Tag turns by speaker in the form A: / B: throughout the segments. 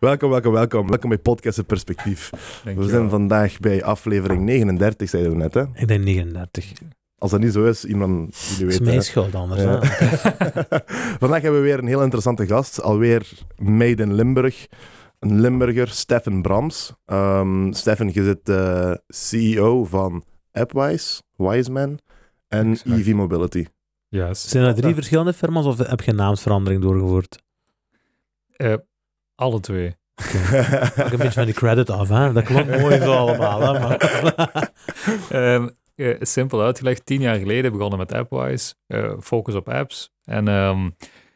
A: Welkom, welkom, welkom. Welkom bij Podcast Het Perspectief. We zijn vandaag bij aflevering 39, zeiden we net. Hè?
B: Ik denk 39.
A: Als dat niet zo is, iemand die
B: Dat is
A: weet.
B: mijn
A: hè.
B: schuld anders.
A: Ja.
B: hè.
A: vandaag hebben we weer een heel interessante gast. Alweer made in Limburg. Een Limburger, Stefan Brams. Ehm Stefan, je zit eh, CEO van Appwise, Wiseman en
C: Exact.
A: EV Mobility.
C: Juist.
B: Zijn er drie verschillende firma's of heb je naamsverandering doorgevoerd?
C: Eh, alle twee.
B: Pak een beetje van die credit af, hè? Dat klopt mooi zo allemaal, hè? Maar...
C: Ehm, eh, simpel uitgelegd, tien jaar geleden begonnen met AppWise, eh, focus op apps. En ehm,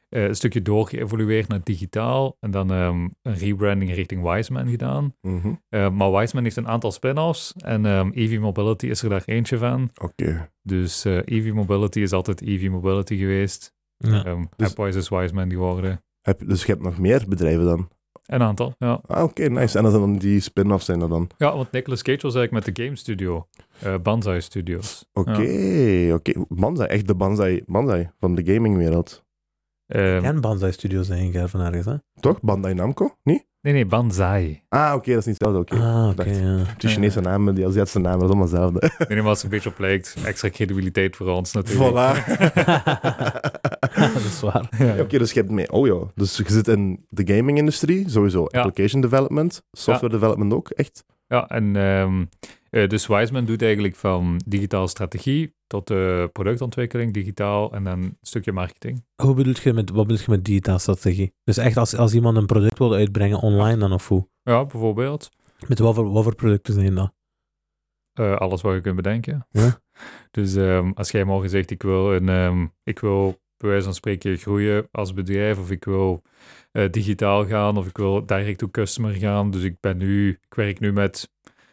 C: eh, een stukje doorgeëvolueerd naar digitaal. En dan ehm, een rebranding richting Wiseman gedaan.
A: Mhm.
C: Eh, maar Wiseman heeft een aantal spin-offs. En ehm EV Mobility is er daar eentje van.
A: Oké.
C: Dus eh, EV Mobility is altijd EV Mobility geweest.
B: Ja.
C: Ehm,
A: Dus-
C: AppWise is Wiseman geworden.
A: Heb- Dus je hebt nog meer bedrijven dan?
C: Een aantal, ja.
A: Ah, oké, nice. En dat zijn dan die spin-offs zijn dat dan?
C: Ja, want Nicolas Cage was eigenlijk met de game studio. eh Banzai Studios.
A: Oké,
C: Ja.
A: oké. Banzai, echt de Banzai, Banzai van de gamingwereld.
C: Ehm,
B: En Banzai Studios in Ingeer van ergens, hè?
A: Toch? Bandai Namco? Niet?
C: Nee, nee, Banzai.
A: Ah, oké, dat is niet hetzelfde. Oké.
B: Ah, oké,
A: Dacht-
B: ja.
A: Die Chinese namen, die Aziatische namen, dat is allemaal hetzelfde.
C: Nee, nee, maar als het een beetje op lijkt, extra credibiliteit voor ons natuurlijk.
A: Voilà.
B: dat is waar.
C: Ja.
A: oké, dus je hebt mee. Oh joh. Dus je zit in de gaming-industrie, sowieso.
C: Ja.
A: Application development, software development ook, echt.
C: Ja, en ehm, eh, dus Wiseman doet eigenlijk van digitaal strategie tot eh, productontwikkeling, digitaal en dan een stukje marketing.
B: Hoe bedoel je met, wat bedoel je met digitale strategie? Dus echt als, als iemand een product wil uitbrengen online dan of hoe?
C: Ja, bijvoorbeeld.
B: Met wat voor, wat voor producten zijn dat?
C: Eh, alles wat je kunt bedenken.
B: Ja.
C: Dus ehm, als jij morgen zegt, ik wil, een, ehm, ik wil bij wijze van spreken groeien als bedrijf, of ik wil eh, digitaal gaan, of ik wil direct to customer gaan. Dus ik ben nu, ik werk nu met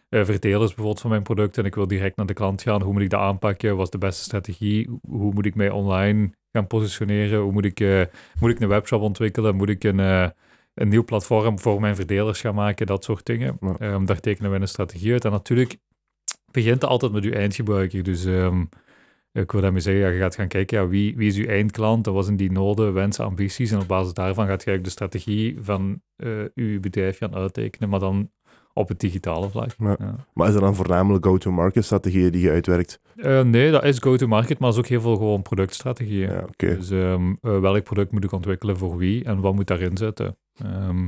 C: eh, vertelers bijvoorbeeld van mijn product en ik wil direct naar de klant gaan. Hoe moet ik dat aanpakken? Wat is de beste strategie? Hoe- Hoe moet ik mij online gaan positioneren? Hoe moet ik, eh, moet ik een webshop ontwikkelen? Moet ik een, eh, een nieuw platform voor mijn verdelers gaan maken? Dat soort dingen.
A: Ja.
C: Ehm, daar tekenen we een strategie uit. En natuurlijk begint het altijd met uw eindgebruiker. Dus ehm, ik wil daarmee zeggen, ja, je gaat gaan kijken, ja, wie, wie is uw eindklant? Dat was in die noden, wensen, ambities. En op basis daarvan gaat je eigenlijk de strategie van eh, uw bedrijf gaan uittekenen, maar dan op het digitale vlak.
A: Ja.
C: Ja.
A: Maar is er dan voornamelijk go-to-market strategieën die je uitwerkt?
C: Eh, nee, dat is go-to-market, maar dat is ook heel veel gewoon productstrategieën.
A: Ja, oké.
C: Dus ehm, eh, welk product moet ik ontwikkelen voor wie en wat moet daarin zitten? Ehm,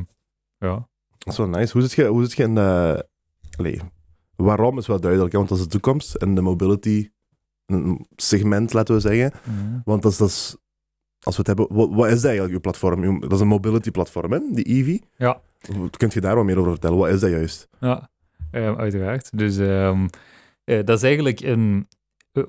C: ja.
A: Dat is wel nice. Hoe zit je, hoe zit je in de... Allee, waarom is wel duidelijk, hè, want dat is de toekomst. En de mobility een segment, laten we zeggen. Want dat is, dat is- als we het hebben, wat, wat is dat eigenlijk, uw platform? Uw- dat is een mobility platform, hè? die EV.
C: Ja.
A: Kunt je daar wat meer over vertellen? Wat is dat juist?
C: Ja, ehm, uiteraard. Dus ehm, eh, dat is eigenlijk een. eh,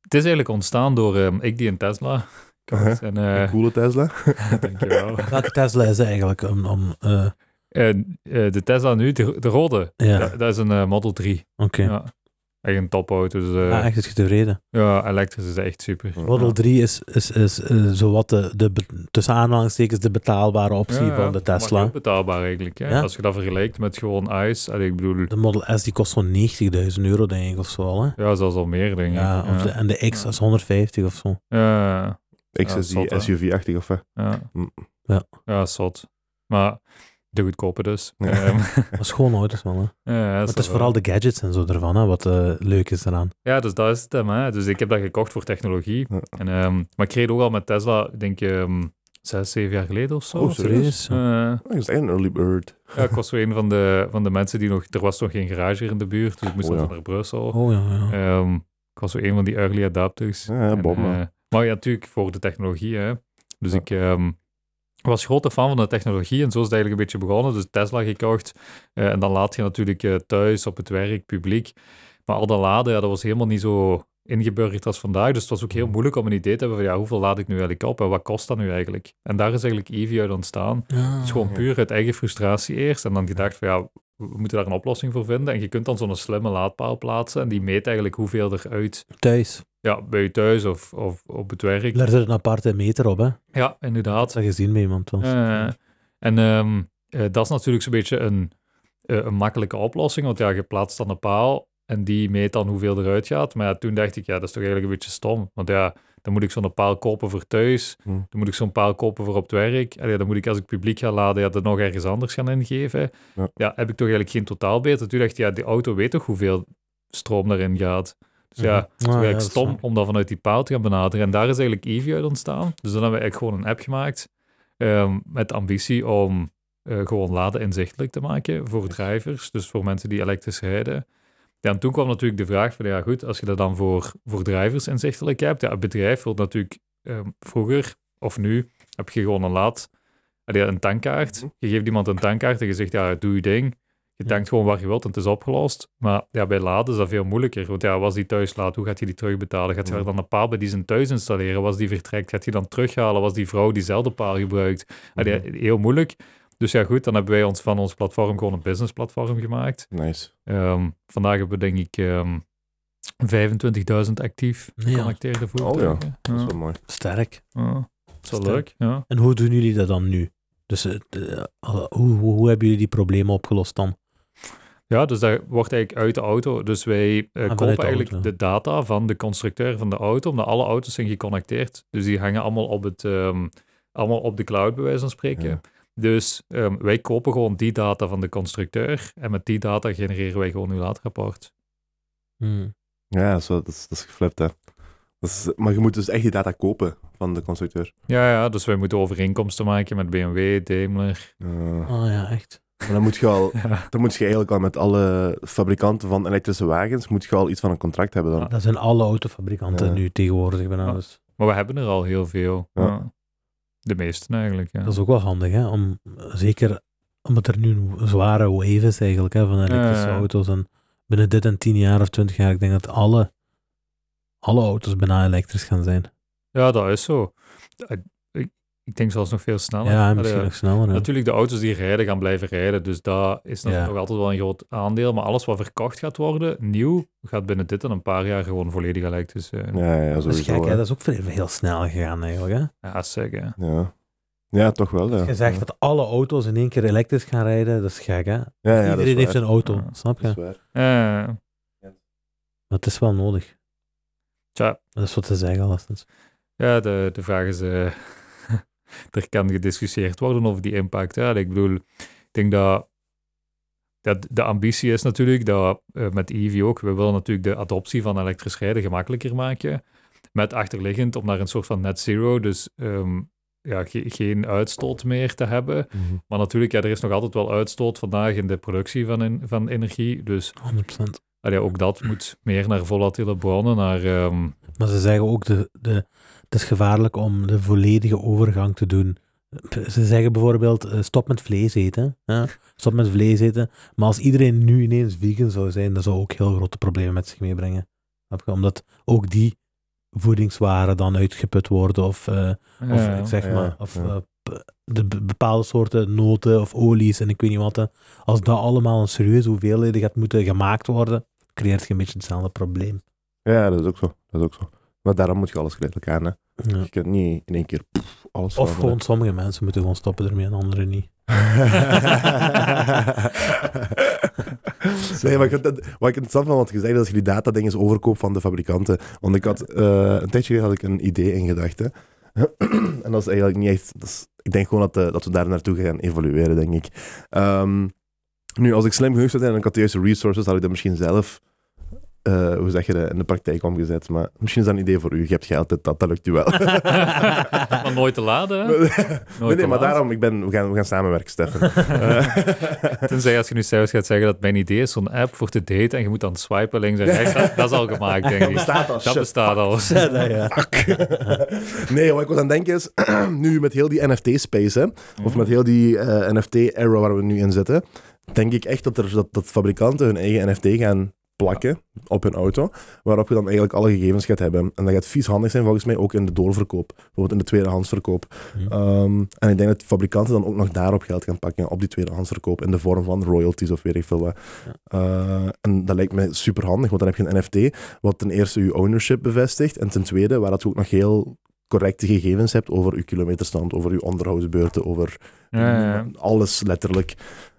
C: het is eigenlijk ontstaan door ehm, ik die een Tesla. had. En,
A: Een
C: eh
A: coole Tesla.
C: dankjewel.
B: Welke Tesla is dat eigenlijk om... om eh,
C: En, eh, de Tesla nu, de, de rode,
B: ja,
C: dat, dat is een eh, Model 3.
B: oké.
C: Ja. Echt een topauto. Dus, eh,
B: Ah, echt, is je tevreden?
C: ja, elektrisch is echt super.
B: Model
C: Ja.
B: 3 is, is, is eh, zowat de, de, be- tussen aanhalingstekens de betaalbare optie
C: Ja, ja,
B: van de
C: maar
B: Tesla.
C: heel betaalbaar eigenlijk. Hè?
B: Ja.
C: Als je dat vergelijkt met gewoon ICE, allee, ik bedoel,
B: De Model S die kost zo'n 90.000 euro, denk ik, of zo. al, Hè?
C: ja, zelfs al meer dingen.
B: Ja, of de, en de X
C: Ja.
B: is 150 of zo.
C: ja.
A: Ik
C: Ja,
A: zit
C: zot, hè?
A: die SUV-achtig of hè?
C: Ja.
A: Mm.
B: Ja.
C: Ja, zot. Maar de goedkope dus.
A: Ja.
C: Ehm,
B: Dat is gewoon auto's wel. Hè? Maar
C: ja, dat
B: het is
C: wel-
B: vooral de gadgets en zo ervan, hè, wat eh, leuk is eraan.
C: Ja, dus dat is het hem. Hè. Dus ik heb dat gekocht voor technologie.
A: Ja.
C: En, ehm, maar ik reed ook al met Tesla, ik denk ehm zes, zeven jaar geleden of zo.
A: Oh, serieus?
B: Serieus?
C: Eh,
A: Dat is echt een early bird.
C: ja, ik was zo een van de, van de mensen die nog... Er was nog geen garage hier in de buurt, dus ik moest
A: Oh,
C: nog
A: ja.
C: naar Brussel.
B: Oh ja, ja.
C: Ehm, ik was zo een van die early adapters.
A: Ja, ja,
C: En,
A: bom. hè.
C: eh, maar ja, natuurlijk voor de technologie. Hè. Dus
A: Ja.
C: ik ehm, was grote fan van de technologie en zo is het eigenlijk een beetje begonnen. Dus Tesla gekocht. eh, en dan laat je natuurlijk eh, thuis, op het werk, publiek. Maar al dat laden, ja, dat was helemaal niet zo ingeburgerd als vandaag. Dus het was ook heel moeilijk om een idee te hebben van ja, hoeveel laad ik nu eigenlijk op en wat kost dat nu eigenlijk? En daar is eigenlijk EV uit ontstaan.
B: Ah.
C: Het is gewoon
A: ja.
C: puur uit eigen frustratie eerst. En dan gedacht van ja, we moeten daar een oplossing voor vinden. En je kunt dan zo'n slimme laadpaal plaatsen. En die meet eigenlijk hoeveel er uit
B: Thuis.
C: ja, bij je thuis of, of op het werk.
B: Daar zit een aparte meter op, hè? Dat
C: Ja, inderdaad.
B: had je gezien bij iemand. was.
C: Eh, en ehm, eh, dat is natuurlijk zo'n beetje een, eh, een makkelijke oplossing, want ja, je plaatst dan een paal en die meet dan hoeveel eruit gaat. Maar ja, toen dacht ik, ja, dat is toch eigenlijk een beetje stom. Want ja, Dan moet ik zo'n paal kopen voor thuis.
A: Hm.
C: Dan moet ik zo'n paal kopen voor op het werk. Allee, dan moet ik als ik publiek ga laden, ja, dat nog ergens anders gaan ingeven.
A: Ja.
C: Ja. heb ik toch eigenlijk geen totaalbeeld. Toen dacht ik, ja, die auto weet toch hoeveel stroom daarin gaat. Dus ja,
B: Mhm.
C: het is
B: Ah, ja,
C: eigenlijk
B: dat is
C: stom
B: waar.
C: om dat vanuit die paal te gaan benaderen. En daar is eigenlijk Eevee uit ontstaan. Dus dan hebben we eigenlijk gewoon een app gemaakt ehm, met de ambitie om eh, gewoon laden inzichtelijk te maken voor drivers, dus voor mensen die elektrisch rijden. Ja, en toen kwam natuurlijk de vraag van, ja goed, als je dat dan voor, voor drivers inzichtelijk hebt, ja, het bedrijf wil natuurlijk ehm, vroeger of nu, heb je gewoon een laad, allee, een tankkaart.
A: Mhm.
C: Je geeft iemand een tankkaart en je zegt, ja, doe je ding. Je
B: Ja.
C: tankt gewoon waar je wilt en het is opgelost. Maar ja, bij laden is dat veel moeilijker. Want ja, was die thuis laat, hoe gaat hij die terugbetalen? Gaat hij
A: Mhm.
C: dan een paal bij die zijn thuis installeren? Was die vertrekt? Gaat hij dan terughalen? Was die vrouw diezelfde paal gebruikt? Allee, Heel moeilijk. Dus ja, goed, dan hebben wij ons van ons platform gewoon een businessplatform gemaakt.
A: Nice.
C: Ehm, vandaag hebben we denk ik ehm 25.000 actief
B: Ja.
C: geconnecteerde voertuigen.
A: Oh Dat is wel mooi.
B: Sterk.
C: Ja, dat is wel
B: Sterk.
C: leuk. Ja.
B: En hoe doen jullie dat dan nu? Dus eh, de- eh, hoe, hoe, hoe hebben jullie die problemen opgelost dan?
C: ja, dus dat wordt eigenlijk uit de auto. Dus wij eh,
B: Ah, vanuit de
C: kopen eigenlijk
B: auto.
C: de data van de constructeur van de auto, omdat alle auto's zijn geconnecteerd. Dus die hangen allemaal op, het, ehm, allemaal op de cloud, bij wijze van spreken.
A: Ja.
C: Dus ehm, wij kopen gewoon die data van de constructeur en met die data genereren wij gewoon uw laadrapport.
B: Hmm.
A: Ja, zo, dat, is, dat is geflipt, hè. Dat is, maar je moet dus echt die data kopen van de constructeur.
C: Ja, ja, dus wij moeten overeenkomsten maken met BMW, Daimler.
A: Eh,
C: Oh
B: Ah ja, echt.
A: en dan moet je al...
C: Ja.
A: Dan moet je eigenlijk al met alle fabrikanten van elektrische wagens... moet je al iets van een contract hebben dan.
C: Ah.
B: Dat zijn alle autofabrikanten
A: Ja.
B: nu tegenwoordig bijna.
C: Ja.
B: Dus
C: Maar we hebben er al heel veel.
A: Ja.
C: Ja. De meesten eigenlijk, ja.
B: dat is ook wel handig, hè? Om, zeker omdat er nu een zware wave is eigenlijk hè, van elektrische
C: Ja, ja.
B: auto's. En binnen dit en tien jaar of twintig jaar, ik denk dat alle, alle auto's bijna elektrisch gaan zijn.
C: Ja, dat is zo. Eh, Ik, ik denk zelfs nog veel sneller.
B: ja, en
C: Allee,
B: misschien nog sneller. hè.
C: Natuurlijk, de auto's die rijden gaan blijven rijden. Dus dat is nog,
B: Ja.
C: nog altijd wel een groot aandeel. Maar alles wat verkocht gaat worden, nieuw, gaat binnen dit en een paar jaar gewoon volledig elektrisch zijn.
A: Ja, ja,
B: Dat is
A: sowieso.
B: gek, hè?
A: hè.
B: Dat is ook veel, heel snel gegaan eigenlijk, hè?
C: Ja, zeggen.
A: Ja. ja, toch wel, ja.
B: Je zegt
A: ja.
B: dat alle auto's in één keer elektrisch gaan rijden, dat is gek, hè?
A: Ja, ja, dat is
B: Iedereen heeft
A: waar.
B: zijn auto,
C: Ja.
B: snap je?
A: Dat is waar.
C: Eh,
B: Maar het is wel nodig.
C: Tja.
B: Dat is wat ze zeggen, alstens.
C: ja, de, de vraag is... eh, er kan gediscussieerd worden over die impact. Hè. Ik bedoel, ik denk dat, dat de ambitie is natuurlijk dat eh, met EV ook, we willen natuurlijk de adoptie van elektrisch rijden gemakkelijker maken. Met achterliggend om naar een soort van net zero, dus ehm, ja, ge- geen uitstoot meer te hebben.
A: Mhm.
C: Maar natuurlijk, ja, er is nog altijd wel uitstoot vandaag in de productie van, en- van energie. Dus
B: 100%.
C: allee, ook dat moet meer naar volatiele bronnen, naar... ehm,
B: Maar ze zeggen ook, de, de, het is gevaarlijk om de volledige overgang te doen. Ze zeggen bijvoorbeeld, eh, stop met vlees eten. Hè? Stop met vlees eten. Maar als iedereen nu ineens vegan zou zijn, dat zou ook heel grote problemen met zich meebrengen. Snap je? Omdat ook die voedingswaren dan uitgeput worden of... eh, Of
C: ja.
B: ik zeg
A: ja,
B: maar, of
A: ja.
B: eh, p- de be- bepaalde soorten noten of olies en ik weet niet wat. hè. Als dat allemaal een serieuze hoeveelheden gaat moeten gemaakt worden, creëert je een beetje hetzelfde probleem.
A: Ja, dat is ook zo. Dat is ook zo. Maar daarom moet je alles geleidelijk aan, hè. Je kunt niet in één keer pff, alles
B: Of
A: veranderen.
B: gewoon sommige mensen moeten gewoon stoppen ermee en anderen niet.
A: nee, maar ik, vind dat- wat ik interessant van had gezegd, is dat je die data ding is overkoop van de fabrikanten. Want ik had, eh, een tijdje geleden had ik een idee in gedachten. en dat is eigenlijk niet echt... dat is- ik denk gewoon dat, eh, dat we daar naartoe gaan evolueren, denk ik. Ehm, nu, als ik slim genoeg zou zijn en ik had de juiste resources, had ik dat misschien zelf, eh, hoe zeg je dat, in de praktijk omgezet. Maar misschien is dat een idee voor u. Je hebt geld, dit, dat, dat lukt u wel.
C: maar nooit te laden,
A: nee,
C: hè? Nooit
A: nee,
C: te
A: maar
C: laat.
A: daarom, ik ben, we, gaan, we gaan samenwerken, Stefan. Eh,
C: Tenzij als je nu zelfs gaat zeggen dat mijn idee is zo'n app voor te daten en je moet dan swipen links en rechts. Dat, dat is al gemaakt, denk
A: Dat
C: ik.
A: bestaat al.
C: Dat
A: shit.
C: bestaat al.
B: Ja, dat ja.
A: nee, wat ik was aan het denken is, nu met heel die NFT-space, hè,
C: Mhm.
A: of met heel die eh, NFT-era waar we nu in zitten, denk ik echt dat, er, dat, dat fabrikanten hun eigen NFT gaan plakken op hun auto, waarop je dan eigenlijk alle gegevens gaat hebben. En dat gaat vies handig zijn volgens mij ook in de doorverkoop, bijvoorbeeld in de tweedehandsverkoop.
B: Hm. Eh,
A: Ehm, en ik denk dat fabrikanten dan ook nog daarop geld gaan pakken, op die tweedehandsverkoop, in de vorm van royalties of weet ik veel wat. Eh, en dat lijkt mij super handig, want dan heb je een NFT wat ten eerste uw ownership bevestigt. En ten tweede, waar dat je ook nog heel correcte gegevens hebt over uw kilometerstand, over uw onderhoudsbeurten, over
C: Ja, ja.
A: alles letterlijk.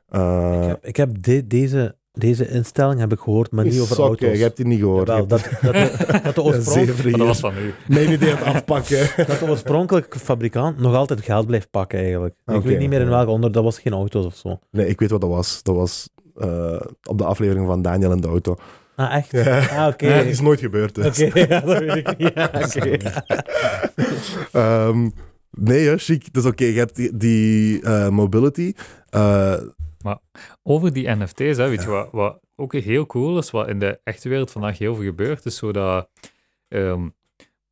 A: Eh,
B: Ik heb, ik heb de- deze Deze instelling heb ik gehoord, maar niet over
A: Sokken,
B: auto's.
A: je hebt die niet gehoord.
B: Jawel, dat, dat, de, dat, de oorsprong-
A: Zeven
C: Maar
A: hier.
C: dat was van u.
A: Meen je die aan het afpakken?
B: dat de oorspronkelijke fabrikant nog altijd geld blijft pakken eigenlijk. Ik
A: Oké.
B: weet niet meer in welke onder, dat was geen auto's of zo.
A: Nee, ik weet wat dat was. Dat was eh, op de aflevering van Daniel en de auto.
B: Ah, echt?
A: Ja.
B: Ah, oké.
A: Ja, dat is nooit gebeurd. Dus.
B: Oké, ja, dat weet ik niet. Ja, oké.
A: Ehm, nee, hè, chic. Dat is oké. Je hebt die, die, eh, mobility. Eh,
C: Over die NFT's, hè, weet je wat, wat ook heel cool is, wat in de echte wereld vandaag heel veel gebeurt, is zo dat ehm,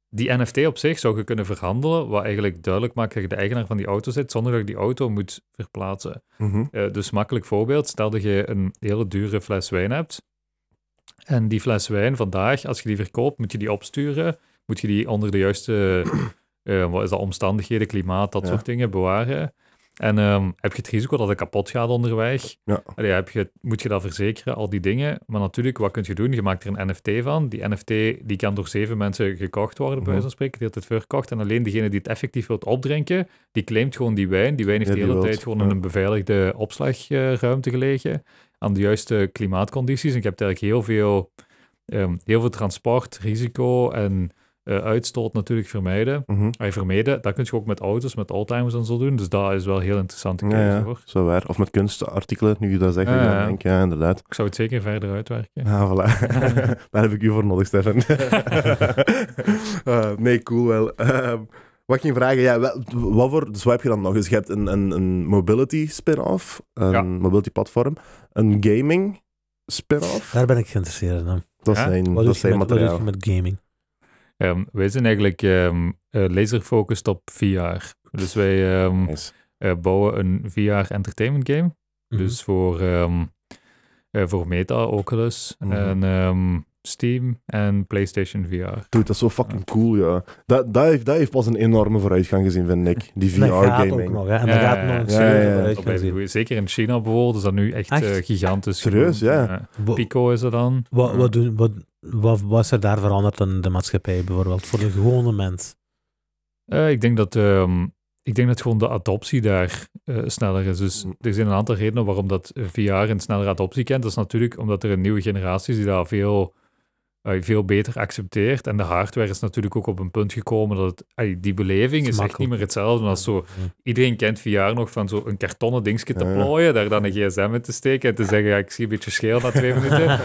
C: die NFT op zich zou je kunnen verhandelen, wat eigenlijk duidelijk maakt dat je de eigenaar van die auto zit, zonder dat je die auto moet verplaatsen.
A: mhm.
C: Eh, dus makkelijk voorbeeld, stel dat je een hele dure fles wijn hebt. En die fles wijn vandaag, als je die verkoopt, moet je die opsturen. Moet je die onder de juiste eh, wat is dat, omstandigheden, klimaat, dat
A: Ja.
C: soort dingen bewaren. En ehm, heb je het risico dat het kapot gaat onderweg?
A: Ja.
C: Allee, heb je, moet je dat verzekeren, al die dingen? Maar natuurlijk, wat kun je doen? Je maakt er een NFT van. Die NFT die kan door zeven mensen gekocht worden, bij
A: Mhm.
C: wijze van spreken. Die heeft het verkocht. En alleen degene die het effectief wilt opdrinken, die claimt gewoon die wijn. Die wijn heeft
A: Ja,
C: de
A: die
C: hele
A: wilt,
C: tijd gewoon
A: ja.
C: in een beveiligde opslagruimte gelegen. Aan de juiste klimaatcondities. En je hebt eigenlijk heel veel, ehm, heel veel transport, risico en eh, uitstoot natuurlijk vermijden.
A: Mhm.
C: Hij vermeden, dat kun je ook met auto's, met oldtimers en zo doen. Dus dat is wel een heel interessante keuze
A: Ja, ja,
C: hoor.
A: zo waar. Of met kunstartikelen, nu je dat zegt.
C: Ja,
A: Ja,
C: ja.
A: Denk, ja inderdaad.
C: Ik zou het zeker verder uitwerken.
A: Ah, voilà. Daar heb ik u voor nodig, Stefan. Eh, nee, cool wel. Ehm, wat ik ging vragen, ja, wel- wat voor swipe je dan nog? Dus je hebt een, een, een mobility spin-off, een
C: Ja.
A: mobility platform, een gaming spin-off.
B: Daar ben ik geïnteresseerd in. Wat
A: Dat
C: Ja?
A: zijn,
B: doe
A: dat
B: je
A: zijn
B: met- wat doe
A: materiaal.
B: je met gaming?
C: Ehm, wij zijn eigenlijk ehm eh, laser-focused op VR. Dus wij ehm,
A: Nice.
C: eh, bouwen een VR-entertainment game.
B: Mhm.
C: Dus voor, ehm, eh, voor Meta, Oculus
A: Mhm.
C: en ehm, Steam en PlayStation VR.
A: Dude, dat is zo fucking cool, ja. Dat, dat, heeft, dat heeft pas een enorme vooruitgang gezien, vind ik. Die
B: Mhm. En dat gaat ook
A: VR-gaming.
B: nog, hè. En dat gaat
C: Eh,
B: nog
A: ja, ja, ja.
B: een
C: Dat blijft goed. Zeker in China bijvoorbeeld is dat nu echt,
B: Echt?
C: eh, gigantisch.
A: Serieus,
C: geworden.
A: ja.
C: Pico is er dan.
B: Wat, wat, doen, wat, wat, wat is er daar veranderd in de maatschappij bijvoorbeeld? Voor de gewone mens?
C: Eh, ik, denk dat, ehm, ik denk dat gewoon de adoptie daar eh, sneller is. Dus
A: Hm.
C: er zijn een aantal redenen waarom dat eh, VR een snellere adoptie kent. Dat is natuurlijk omdat er een nieuwe generatie is die dat veel, eh, veel beter accepteert. En de hardware is natuurlijk ook op een punt gekomen dat het, eh, die beleving
B: Het
C: is
B: is
C: echt niet meer hetzelfde als zo...
B: Ja.
C: Iedereen kent VR nog van zo'n kartonnen dingetje te
A: Ja.
C: plooien, daar dan een gsm in te steken en te zeggen, ja, ik zie een beetje scheel na twee minuten.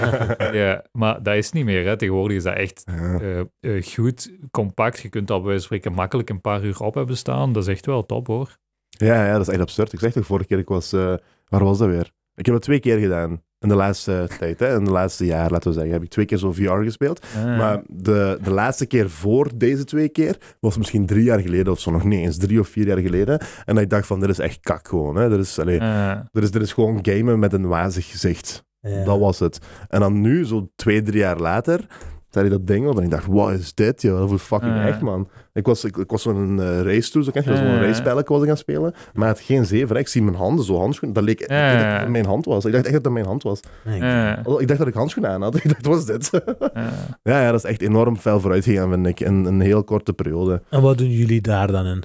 C: ja, maar dat is niet meer. Hè. Tegenwoordig is dat echt
A: Ja.
C: eh, eh, goed, compact. Je kunt dat bij wijze van spreken makkelijk een paar uur op hebben staan. Dat is echt wel top hoor.
A: Ja, ja, dat is echt absurd. Ik zeg toch vorige keer, ik was... eh, waar was dat weer? Ik heb dat twee keer gedaan. In de laatste tijd, hè. In de laatste jaar, laten we zeggen. Heb ik twee keer zo'n VR gespeeld.
B: Ah.
A: Maar de, de laatste keer voor deze twee keer was misschien drie jaar geleden of zo. Nog niet eens drie of vier jaar geleden. En dat ik dacht van, dit is echt kak gewoon, hè. Dit is, allee,
B: Ah,
C: Eh,
A: dit is, dit is gewoon gamen met een wazig gezicht.
B: Ja.
A: Dat was het. En dan nu, zo twee, drie jaar later, zei hij dat ding op. En ik dacht, wat is dit, joh? Dat is fucking
C: Ja.
A: echt, man. Ik was, ik, ik was zo'n eh, race toe, zo kan je wel,
C: Ja.
A: zo'n racepelletje was ik gaan spelen. Maar het geen zeven. hè. Ik zie mijn handen, zo handschoenen. Dat leek ik
C: Ja.
A: dacht dat het mijn hand was. Ik dacht echt dat dat mijn hand was.
B: Nee,
C: eh,
A: Ik dacht dat ik handschoenen aan had. Ik dacht, wat is dit?
B: ah.
C: eh.
A: ja, ja, dat is echt enorm fel vooruit gegaan, vind ik. In een heel korte periode.
B: En wat doen jullie daar dan in?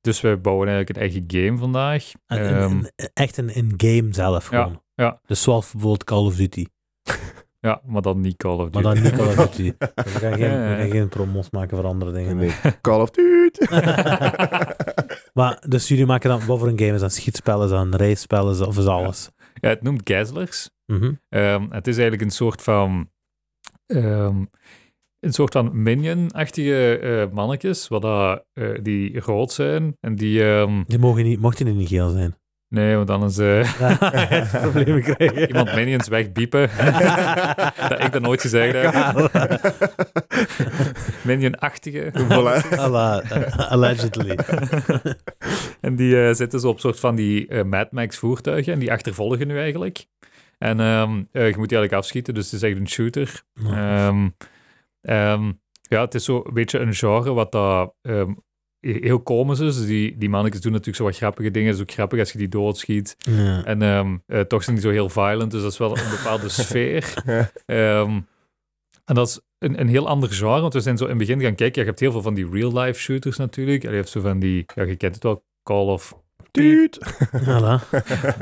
C: Dus wij bouwen eigenlijk een eigen game vandaag.
B: En- en-
C: Ehm,
B: en- echt een in-game zelf
C: Ja,
B: gewoon.
C: ja.
B: Dus zoals bijvoorbeeld Call of Duty.
C: ja, maar dan niet Call of Duty.
B: Maar dan niet Call of Duty. We gaan geen,
C: Ja, ja.
B: we gaan geen promos maken voor andere dingen.
A: Nee. Call of Duty.
B: Maar dus jullie maken dan, wat voor een game is dat? Schietspellen, is dat een race-spel, is dat- of is alles?
C: Ja, het noemt Geislers.
B: Mhm.
C: Ehm, het is eigenlijk een soort van. ehm, een soort van minion-achtige eh, mannetjes, wat dat, eh, die rood zijn. En die. ehm,
B: Die mogen niet, mochten die niet geel zijn.
C: nee, want dan is eh,
B: Problemen krijgen.
C: iemand minions wegbiepen. dat ik dat nooit gezegd heb. Minion-achtige.
A: Voilà.
B: Alla- allegedly.
C: En die eh, zitten zo op soort van die eh, Mad Max voertuigen. En die achtervolgen nu eigenlijk. En ehm, eh, je moet die eigenlijk afschieten, dus het is echt een shooter. Ehm, ehm, ja, het is zo een beetje een genre wat dat, ehm, he- heel komisch is. Dus die, die mannetjes doen natuurlijk zo wat grappige dingen. Het is ook grappig als je die doodschiet.
B: Ja.
C: En ehm, eh, toch zijn die zo heel violent, dus dat is wel een bepaalde sfeer. Ehm, en dat is een, een heel ander genre, want we zijn zo in het begin gaan kijken. Ja, je hebt heel veel van die real-life shooters natuurlijk. En je hebt zo van die, ja, je kent het wel, Call of
A: Duut.
B: Alla.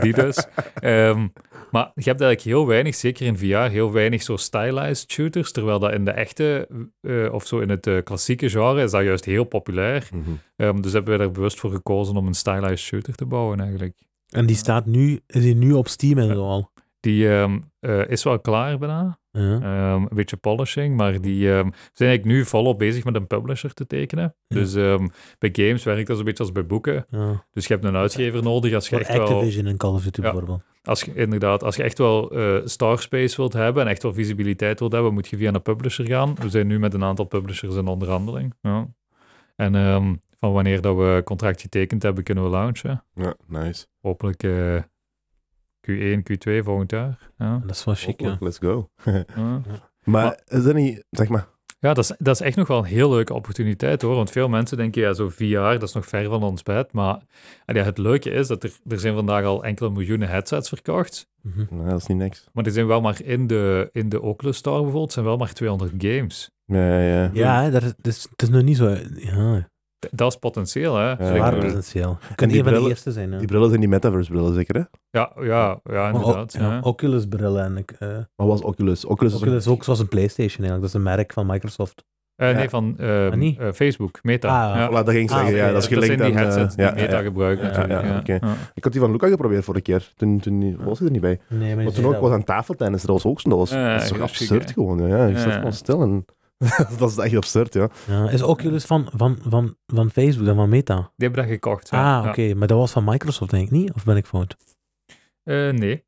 C: die dus. Ehm, Maar je hebt eigenlijk heel weinig, zeker in VR, heel weinig zo stylized shooters. Terwijl dat in de echte, eh, of zo in het eh, klassieke genre, is dat juist heel populair.
A: Mhm.
C: Ehm, dus hebben we er bewust voor gekozen om een stylized shooter te bouwen eigenlijk.
B: En die staat nu, is die nu op Steam en zo al.
C: Die ehm, eh, is wel klaar bijna.
B: Ja.
C: Ehm, een beetje polishing, maar die ehm, zijn eigenlijk nu volop bezig met een publisher te tekenen.
B: Ja.
C: Dus ehm, bij games werkt dat een beetje als bij boeken.
B: Ja.
C: Dus je hebt een uitgever nodig als je
B: Voor
C: echt wel...
B: Activision en Call of Duty
C: Ja.
B: bijvoorbeeld.
C: Als je, inderdaad, als je echt wel eh starspace wilt hebben en echt wel visibiliteit wilt hebben, moet je via een publisher gaan. We zijn nu met een aantal publishers in onderhandeling. Ja. En ehm, van wanneer dat we een contract getekend hebben, kunnen we launchen.
A: Ja, nice.
C: Hopelijk eh, Q1, Q2 volgend jaar. Ja,
B: Dat is wel chic, ja.
A: Hopelijk, Let's go.
C: ja.
A: maar is dat niet, zeg maar,
C: Ja, dat is, dat is echt nog wel een heel leuke opportuniteit hoor. Want veel mensen denken, ja, zo VR, dat is nog ver van ons bed. Maar en ja, het leuke is dat er, er zijn vandaag al enkele miljoenen headsets verkocht.
B: Mhm.
A: nee, dat is niet niks.
C: Maar er zijn wel maar in de, in de Oculus Store bijvoorbeeld, zijn wel maar 200 games.
A: Ja, ja, ja.
B: Ja, hè, dat is, dat is, het is nog niet zo... Ja,
C: D- Dat is potentieel, hè?
A: Ja.
C: Zeker.
B: waar
A: ja.
B: potentieel. Je
A: die
B: kunt een van de
A: brillen-
B: eerste zijn, ja.
A: Die brillen zijn die metaverse-brillen, zeker, hè?
C: Ja, ja,
A: Oh,
C: ja,
B: Maar ook-
C: inderdaad.
B: ja,
C: ja.
B: Oculus brillen en... ik, eh, Dus
A: Maar was Oculus? Oculus, is
B: Oculus is ook zoals een Playstation eigenlijk. Dat is een merk van Microsoft.
C: Eh,
A: Ja.
C: nee, van ehm,
B: Ah, niet?
C: eh, Facebook, Meta.
B: Ah,
C: ja.
A: Voilà, dat ging ik
B: Ah,
A: zeggen.
B: oké,
A: ja, dat is
C: zijn
A: gelinkt
C: die
A: aan... eh,
C: headsets
A: ja,
C: die Meta
A: ja, ja.
C: gebruiken.
B: Ja,
C: natuurlijk,
A: ja,
C: ja.
A: oké.
C: Ja.
A: Ik had die van Luca geprobeerd vorige keer. Toen, toen was hij er niet bij.
B: Nee, maar
A: Maar toen ook was aan tafeltennis, dat was ook zo'n... Dat, was-
C: Ja,
A: dat is toch
C: ja,
A: absurd
C: chic, hè?
A: gewoon, ja. Je
C: Ja.
A: staat gewoon stil en... dat is echt absurd, ja.
B: is Oculus van, van, van, van Facebook en van Meta?
C: Die hebben dat gekocht. ja.
B: ah, oké.
C: Ja.
B: Maar dat was van Microsoft, denk ik niet? Of ben ik fout?
C: Eh, nee.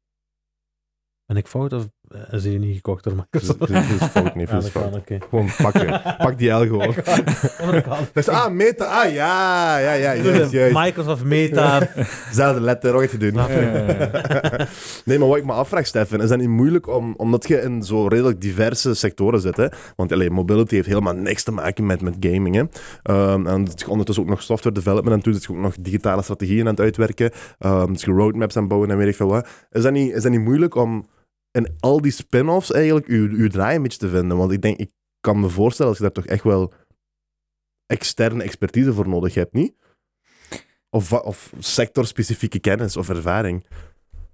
B: Ben ik fout of eh, is die niet gekocht door
A: Dus
B: Microsoft?
A: dus- dus is fout, nee,
B: Ja,
A: dus is
B: dat kan,
A: fout.
B: oké.
A: Gewoon pak, je. pak die L gewoon.
B: Dat kan.
A: Dat is, ah, meta, ah, ja, ja, ja,
B: Ik
A: juist,
B: bedoel,
A: juist.
B: Microsoft Meta.
A: Zelfde letter, ooit gedaan.
B: Ja.
A: Nee, maar wat ik me afvraag, Stefan, is dat niet moeilijk om, omdat je in zo redelijk diverse sectoren zit, hè? Want allee, mobility heeft helemaal niks te maken met, met gaming, hè? Ehm, en dat is ondertussen ook nog software development en toe, dat je ook nog digitale strategieën aan het uitwerken, ehm dat je roadmaps aan het bouwen en weet ik veel wat. Is dat niet, is dat niet moeilijk om in al die spin-offs eigenlijk uw, uw draai een beetje te vinden? Want ik denk, ik kan me voorstellen dat je daar toch echt wel externe expertise voor nodig hebt, niet? Of, wa- of sectorspecifieke kennis of ervaring.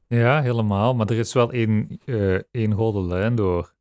C: Ja, helemaal. Maar er is wel één, eh één rode lijn door.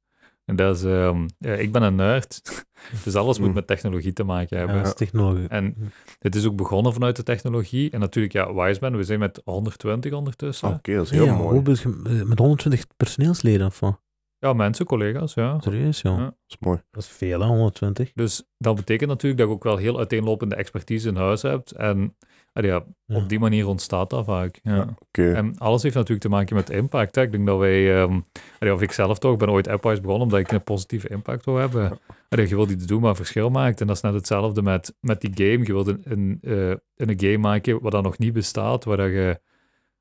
C: En dat is, ehm, eh, ik ben een nerd, dus alles moet
A: Mm.
C: met technologie te maken hebben.
B: Ja, dat is technologie.
C: En het is ook begonnen vanuit de technologie. En natuurlijk, ja, Wiseman, we zijn met 120 ondertussen.
A: Oké,
B: Oh.
A: dat is heel
B: Ja,
A: mooi.
B: hoe ben je- eh, met 120 personeelsleden of wat?
C: Ja, mensen, collega's, ja.
B: Serieus, joh.
C: Ja.
A: Dat is mooi.
B: Dat is veel, hè, 120.
C: Dus dat betekent natuurlijk dat je ook wel heel uiteenlopende expertise in huis hebt. En ah ja,
B: Ja.
C: op die manier ontstaat dat vaak. Ja.
A: Oké.
C: En alles heeft natuurlijk te maken met impact. Hè. Ik denk dat wij, ehm, allee, of ik zelf toch, ben ooit Appwise begonnen omdat ik een positieve impact wil hebben. Allee, je wilt iets doen wat een verschil maakt. En dat is net hetzelfde met, met die game. Je wilt een, een, eh, een game maken wat dat nog niet bestaat, waar dat je,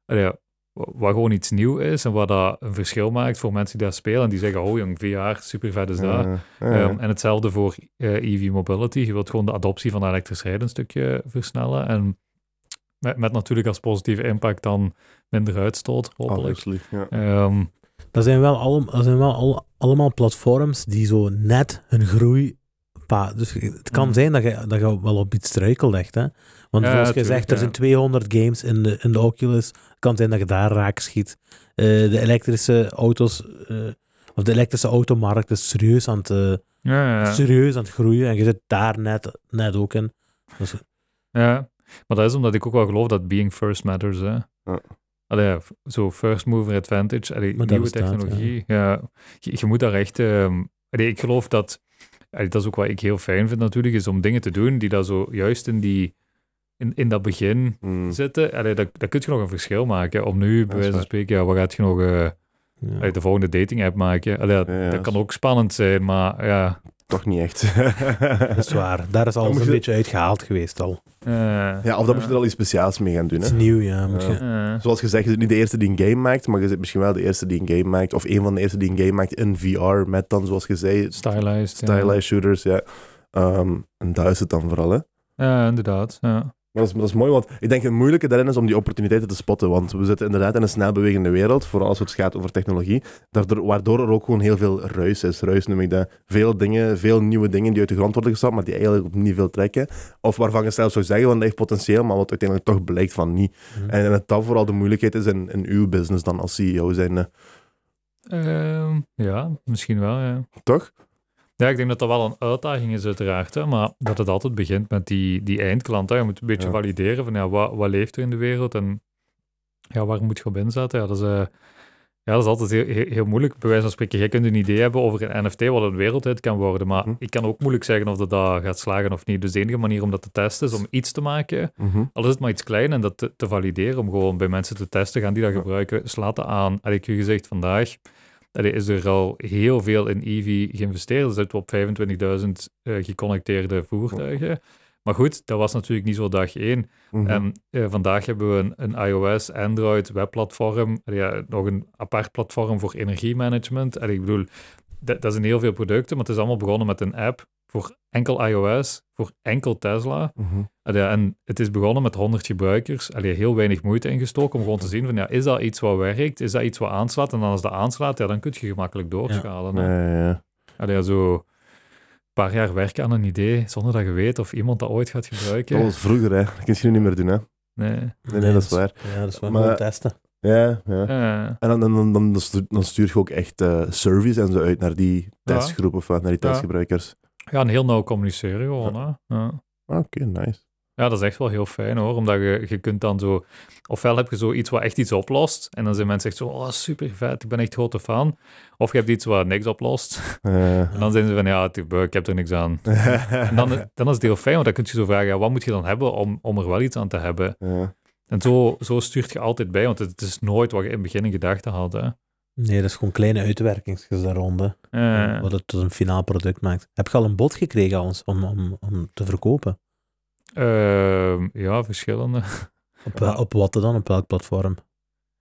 C: allee, ja, wa- wat gewoon iets nieuw is en wat dat een verschil maakt voor mensen die daar spelen. En die zeggen, oh jong, VR, super vet is dat.
A: Ja, Dus, eh, ja, ja.
C: Ehm, en hetzelfde voor eh, EV mobility. Je wilt gewoon de adoptie van elektrisch rijden een stukje versnellen. En met, met natuurlijk als positieve impact dan minder uitstoot, hopelijk.
A: Obviously, ja.
C: Ehm,
B: Dat zijn wel, alle, dat zijn wel al- allemaal platforms die zo net hun groei. pa- Dus het kan
C: Mhm.
B: zijn dat je, dat je wel op iets struikelt, echt. Hè? Want
C: Ja,
B: zoals je
C: tuurlijk,
B: zegt, er
C: ja.
B: zijn 200 games in de, in de Oculus. Het kan zijn dat je daar raak schiet. Eh, de elektrische auto's, eh, of de elektrische automarkt is serieus aan het, eh,
C: ja, ja,
B: serieus aan het groeien. En je zit daar net, net ook in. Dus,
C: ja. Maar dat is omdat ik ook wel geloof dat being first matters. Hè.
A: Ja.
C: Allee, ja, f- zo first mover advantage, allee,
B: Maar dat
C: nieuwe
B: bestaat,
C: technologie. Ja. je, je moet daar echt... ehm, allee, ik geloof dat... allee, dat is ook wat ik heel fijn vind natuurlijk, is om dingen te doen die dat zo juist in, die, in, in dat begin...
A: Mm.
C: zitten, allee, dat, dat kun je nog een verschil maken. Om nu, bij
A: is
C: wijze van
A: waar.
C: spreken, ja, wat gaat je nog eh,
B: ja.
C: uit de volgende dating app maken? Allee, dat,
A: Ja, ja,
C: dat
A: dat
C: kan ook spannend zijn, maar ja.
A: Toch niet echt.
B: Dat is waar. Daar is
A: Dan
B: alles
A: moet
B: een
A: je-
B: beetje uitgehaald geweest al.
C: eh,
A: ja, of dan moet je er al iets speciaals mee gaan doen.
B: Het
A: Hè?
B: is nieuw, ja. Moet
A: Ja.
B: je-
C: eh,
A: Zoals gezegd, je bent niet de eerste die een game maakt, maar je bent misschien wel de eerste die een game maakt. Of een van de eerste die een game maakt in VR, met dan, zoals je zei,
C: stylized. ja.
A: stylized shooters, ja. Ehm, en daar is het dan vooral, hè.
C: Ja, inderdaad. Ja.
A: Maar dat is, dat is mooi, want ik denk het moeilijke daarin is om die opportuniteiten te spotten. Want we zitten inderdaad in een snelbewegende wereld, vooral als het gaat over technologie, daardoor, waardoor er ook gewoon heel veel ruis is. Ruis noem ik dat. Veel dingen, veel nieuwe dingen die uit de grond worden gestapt, maar die eigenlijk op niet veel trekken. Of waarvan je zelfs zou zeggen, want dat heeft potentieel, maar wat uiteindelijk toch blijkt van niet.
B: Mhm.
A: En, en dat dat vooral de moeilijkheid is in, in uw business dan als CEO zijn. eh,
C: Ehm, ja, misschien wel, ja.
A: Toch?
C: Ja, ik denk dat dat wel een uitdaging is uiteraard, hè, maar dat het altijd begint met die, die eindklant. Hè. Je moet een beetje
A: Ja.
C: valideren van ja, wat, wat leeft er in de wereld en ja, waar moet je op inzetten. Ja, dat, is, eh, ja, dat is altijd heel, heel, heel moeilijk. Bij wijze van spreken, jij kunt een idee hebben over een NFT wat een wereldhit kan worden, maar
A: Hm.
C: ik kan ook moeilijk zeggen of dat, dat gaat slagen of niet. Dus de enige manier om dat te testen is om iets te maken,
A: Mhm.
C: al is het maar iets klein, en dat te, te valideren, om gewoon bij mensen te testen, gaan die dat gebruiken, slaat dat aan. Had ik u gezegd vandaag, allee, is er al heel veel in EV geïnvesteerd, dus zitten we op 25.000 eh, geconnecteerde voertuigen. Maar goed, dat was natuurlijk niet zo dag één.
A: Mhm.
C: En eh, vandaag hebben we een, een iOS, Android, webplatform, Allee, ja, nog een apart platform voor energiemanagement. En ik bedoel, dat, dat zijn heel veel producten, maar het is allemaal begonnen met een app voor enkel iOS, voor enkel Tesla.
A: Mhm.
C: Ah, Ja, en het is begonnen met 100 gebruikers. Allee, heel weinig moeite ingestoken om gewoon te zien van, ja, is dat iets wat werkt? Is dat iets wat aanslaat? En dan als dat aanslaat, ja, dan kun je gemakkelijk doorschalen. hè.
A: Ja, ja, ja.
C: Allee, eh, ja, zo een paar jaar werken aan een idee, zonder dat je weet of iemand dat ooit gaat
A: Dat
C: gebruiken.
A: was vroeger, hè. Dat kun je nu niet meer doen, hè.
C: Nee.
A: Nee, nee, dat is waar.
B: Ja, dat is waar.
A: Maar-
B: Gewoon testen.
A: Ja, ja.
C: Eh.
A: En dan, dan, dan, dan stu- dan stuur je ook echt eh surveys en zo uit naar die testgroep of wat, naar die
C: Ja.
A: testgebruikers.
C: Ja, en heel nauw communiceren gewoon. Hè? Ja.
A: Ah, Oké, nice.
C: ja, dat is echt wel heel fijn hoor. Omdat je, je kunt dan zo... Ofwel heb je zoiets wat echt iets oplost. En dan zijn mensen echt zo, oh super vet, ik ben echt grote fan. Of je hebt iets wat niks oplost.
A: Eh.
C: En dan zijn ze van, ja, het- ik heb er niks aan. En dan, dan is het heel fijn, want dan kun je zo vragen, ja, wat moet je dan hebben om, om er wel iets aan te hebben?
A: Ja.
C: En zo, zo stuurt je altijd bij, want het is nooit wat je in het begin in gedachten had. Hè?
B: Nee, dat is gewoon kleine uitwerkingsjes daar rond, hè.
C: Eh,
B: Wat het tot een finaal product maakt. Heb je al een bod gekregen aan ons om, om, om te verkopen?
C: ehm, ja, verschillende.
B: Op, wel- op wat dan? Op welk platform?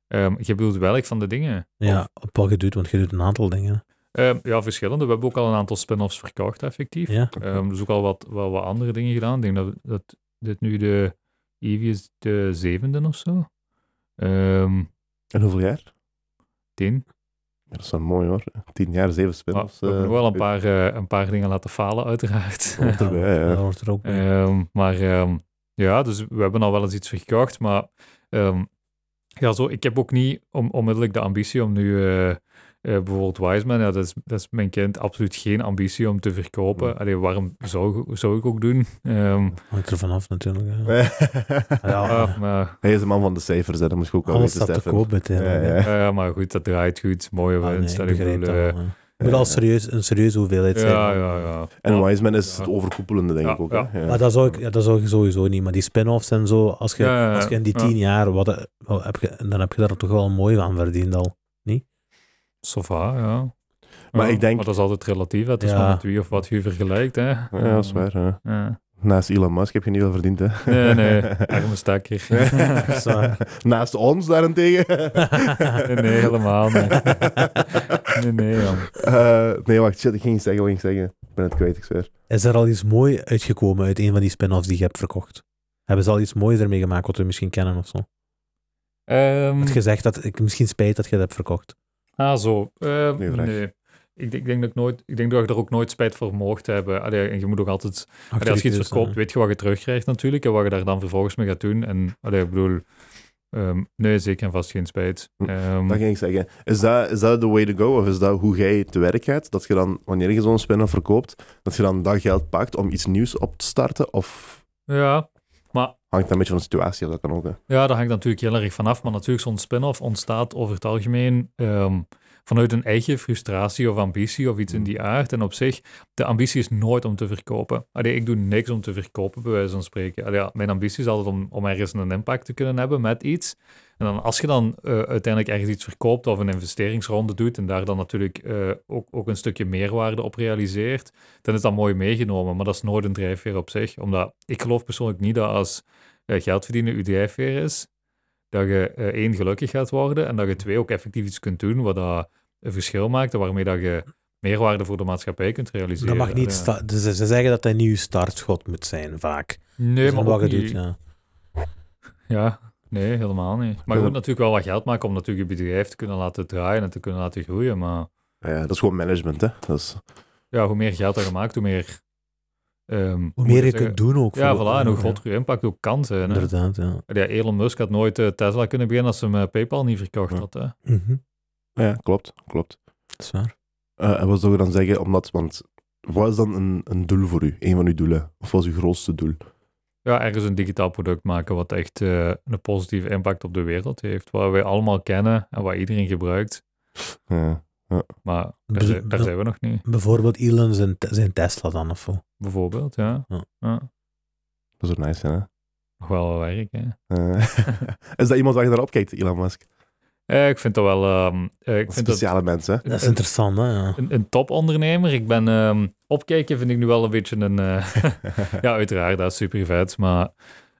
C: Ehm, je bedoelt welk van de dingen?
B: Ja, op wat je doet, want je doet een aantal dingen.
C: Ehm, ja, verschillende. We hebben ook al een aantal spin-offs verkocht, effectief.
B: Ja.
C: Ehm, dus ook al wat, wel wat andere dingen gedaan. Ik denk dat, dat dit nu de Eevee is de zevende of zo. Ehm
A: En hoeveel jaar?
C: tien.
A: Ja, dat is wel mooi hoor. Tien jaar, zeven
C: Maar
A: spin-offs.
C: we hebben
A: eh,
C: Ah, nog wel een paar, eh, een paar dingen laten falen, uiteraard.
A: hoort erbij, ja.
B: Dat hoort er ook bij.
C: Ehm, maar ehm, ja, dus we hebben al wel eens iets verkocht, maar ehm, ja, zo, ik heb ook niet om, onmiddellijk de ambitie om nu eh, eh, bijvoorbeeld Wiseman, ja, dat, is, dat is mijn kind, absoluut geen ambitie om te verkopen.
A: Hmm.
C: Allee, waarom zou, zou ik ook doen? Ehm,
B: Hangt er vanaf natuurlijk. hè. Ja.
C: ah, maar,
A: Hij is een man van de cijfers, hè. dat moet je ook wel
B: Alles
A: weten,
B: staat te
A: Stefan.
B: koop uiteindelijk.
A: Ja,
B: hè.
A: ja.
C: eh, maar goed, dat draait goed. Mooie
B: Ah, nee,
C: winst.
B: ik
C: Allee, ik
B: begrijp
C: bedoel,
B: dat wel,
C: eh,
B: hè. Het moet al serieus, een serieuze hoeveelheid zijn.
C: ja, ja, ja.
A: En
C: Maar-
A: Wiseman is
C: Ja.
A: het overkoepelende, denk
C: Ja,
A: ik ook. Hè? Ja.
B: Maar dat zou, ik, ja, dat zou je sowieso niet. Maar die spin-offs en zo, als je,
C: Ja, ja, ja.
B: als je in die
C: Ja.
B: tien jaar, wat, wat heb je, dan heb je daar toch wel mooi aan verdiend al.
C: so far, ja.
A: Maar
C: Ja,
A: ik denk-
C: Maar dat is altijd relatief. hè. Het is
B: Ja.
C: maar met wie of wat je vergelijkt. Hè. Hmm,
A: Ja, dat is waar. hè.
C: Ja.
A: Naast Elon Musk heb je niet veel verdiend, hè?
C: Nee, nee, arme stakker.
B: is waar.
A: Naast ons daarentegen.
C: Nee, nee, helemaal niet. Nee, nee, man.
A: Eh, nee, wacht, shit, ik ging iets zeggen, wat ging ik zeggen? Ik ben het kwijt, ik zweer.
B: Is er al iets moois uitgekomen uit een van die spin-offs die je hebt verkocht? Hebben ze al iets moois ermee gemaakt wat we misschien kennen of zo?
C: Ehm,
B: Heb je gezegd dat ik misschien spijt dat je dat hebt verkocht?
C: ah, zo. Ehm,
A: Goeie vraag.
C: nee. Ik, denk- ik denk dat ik, nooit, ik denk dat je er ook nooit spijt voor mocht hebben. Allee, en je moet ook altijd... Allee, als je iets
B: Dus,
C: verkoopt,
B: eh,
C: weet je wat je terugkrijgt natuurlijk. En wat je daar dan vervolgens mee gaat doen. En allee, ik bedoel... ehm, nee, zeker en vast geen spijt.
A: Hm,
C: Ehm,
A: Dat ging ik zeggen. Is dat, is dat the way to go? Of is dat hoe jij te werk gaat? Dat je dan, wanneer je zo'n spin-off verkoopt, dat je dan dat geld pakt om iets nieuws op te starten? Of
C: ja,
A: hangt dat een beetje van de situatie af? Dat kan ook, hè.
C: Ja, daar hangt natuurlijk heel erg vanaf. Maar natuurlijk, zo'n spin-off ontstaat over het algemeen ehm, vanuit een eigen frustratie of ambitie of iets in die aard. En op zich, de ambitie is nooit om te verkopen. Allee, ik doe niks om te verkopen, bij wijze van spreken. Allee, ja, mijn ambitie is altijd om, om ergens een impact te kunnen hebben met iets. En dan als je dan eh, uiteindelijk ergens iets verkoopt of een investeringsronde doet en daar dan natuurlijk eh, ook, ook een stukje meerwaarde op realiseert, dan is dat mooi meegenomen. Maar dat is nooit een drijfveer op zich. Omdat ik geloof persoonlijk niet dat als eh, geld verdienen uw drijfveer is, dat je eh, één gelukkig gaat worden en dat je twee ook effectief iets kunt doen wat dat een verschil maakt en waarmee dat je meerwaarde voor de maatschappij kunt realiseren.
B: dat mag niet
C: Ja.
B: sta- dus ze zeggen dat dat een nieuw startschot moet zijn, vaak.
C: Nee,
B: Dus
C: maar
B: wat
C: ook
B: je
C: niet.
B: doet, ja.
C: Ja, nee, helemaal niet. Maar
A: Ja.
C: je moet natuurlijk wel wat geld maken om natuurlijk je bedrijf te kunnen laten draaien en te kunnen laten groeien. Maar
A: Ja, ja, dat is gewoon management, hè. Dat is,
C: ja, hoe meer geld er gemaakt, hoe meer... ehm,
B: Hoe
C: moet
B: meer je
C: zeggen-
B: kunt doen ook.
C: Ja,
B: voor-
C: voilà, en hoe
B: ja.
C: groter je impact ook kan zijn. hè.
B: Inderdaad, ja.
C: Ja, Elon Musk had nooit eh, Tesla kunnen beginnen als ze hem eh, PayPal niet verkocht
A: Ja.
C: had. Hè?
B: Mhm.
A: ja, klopt, klopt.
B: Dat is waar.
A: Eh, en wat zou je dan zeggen, omdat, want wat is dan een, een doel voor u? Een van uw doelen? Of wat is uw grootste doel?
C: Ja, ergens een digitaal product maken wat echt eh, een positieve impact op de wereld heeft. Waar wij allemaal kennen en wat iedereen gebruikt.
A: Ja,
C: Maar daar,
B: Dus-
C: zijn- daar
B: ja.
C: zijn we nog niet,
B: Bijvoorbeeld Elon zijn, te- zijn Tesla dan of zo.
C: bijvoorbeeld. Ja.
B: Ja.
C: Ja.
A: dat zou nice zijn, hè.
C: Nog wel wat werk, hè.
A: Eh, is dat iemand waar je naar opkijkt, Elon Musk?
C: Eh, ik vind dat wel... ehm, eh, ik
A: Een
C: vind dat,
A: speciale mensen, hè.
B: Dat is
C: een,
B: interessant, hè. Ja.
C: een, een topondernemer. Ik ben... ehm, opkijken vind ik nu wel een beetje een... eh, ja, uiteraard, dat is super vet. Maar,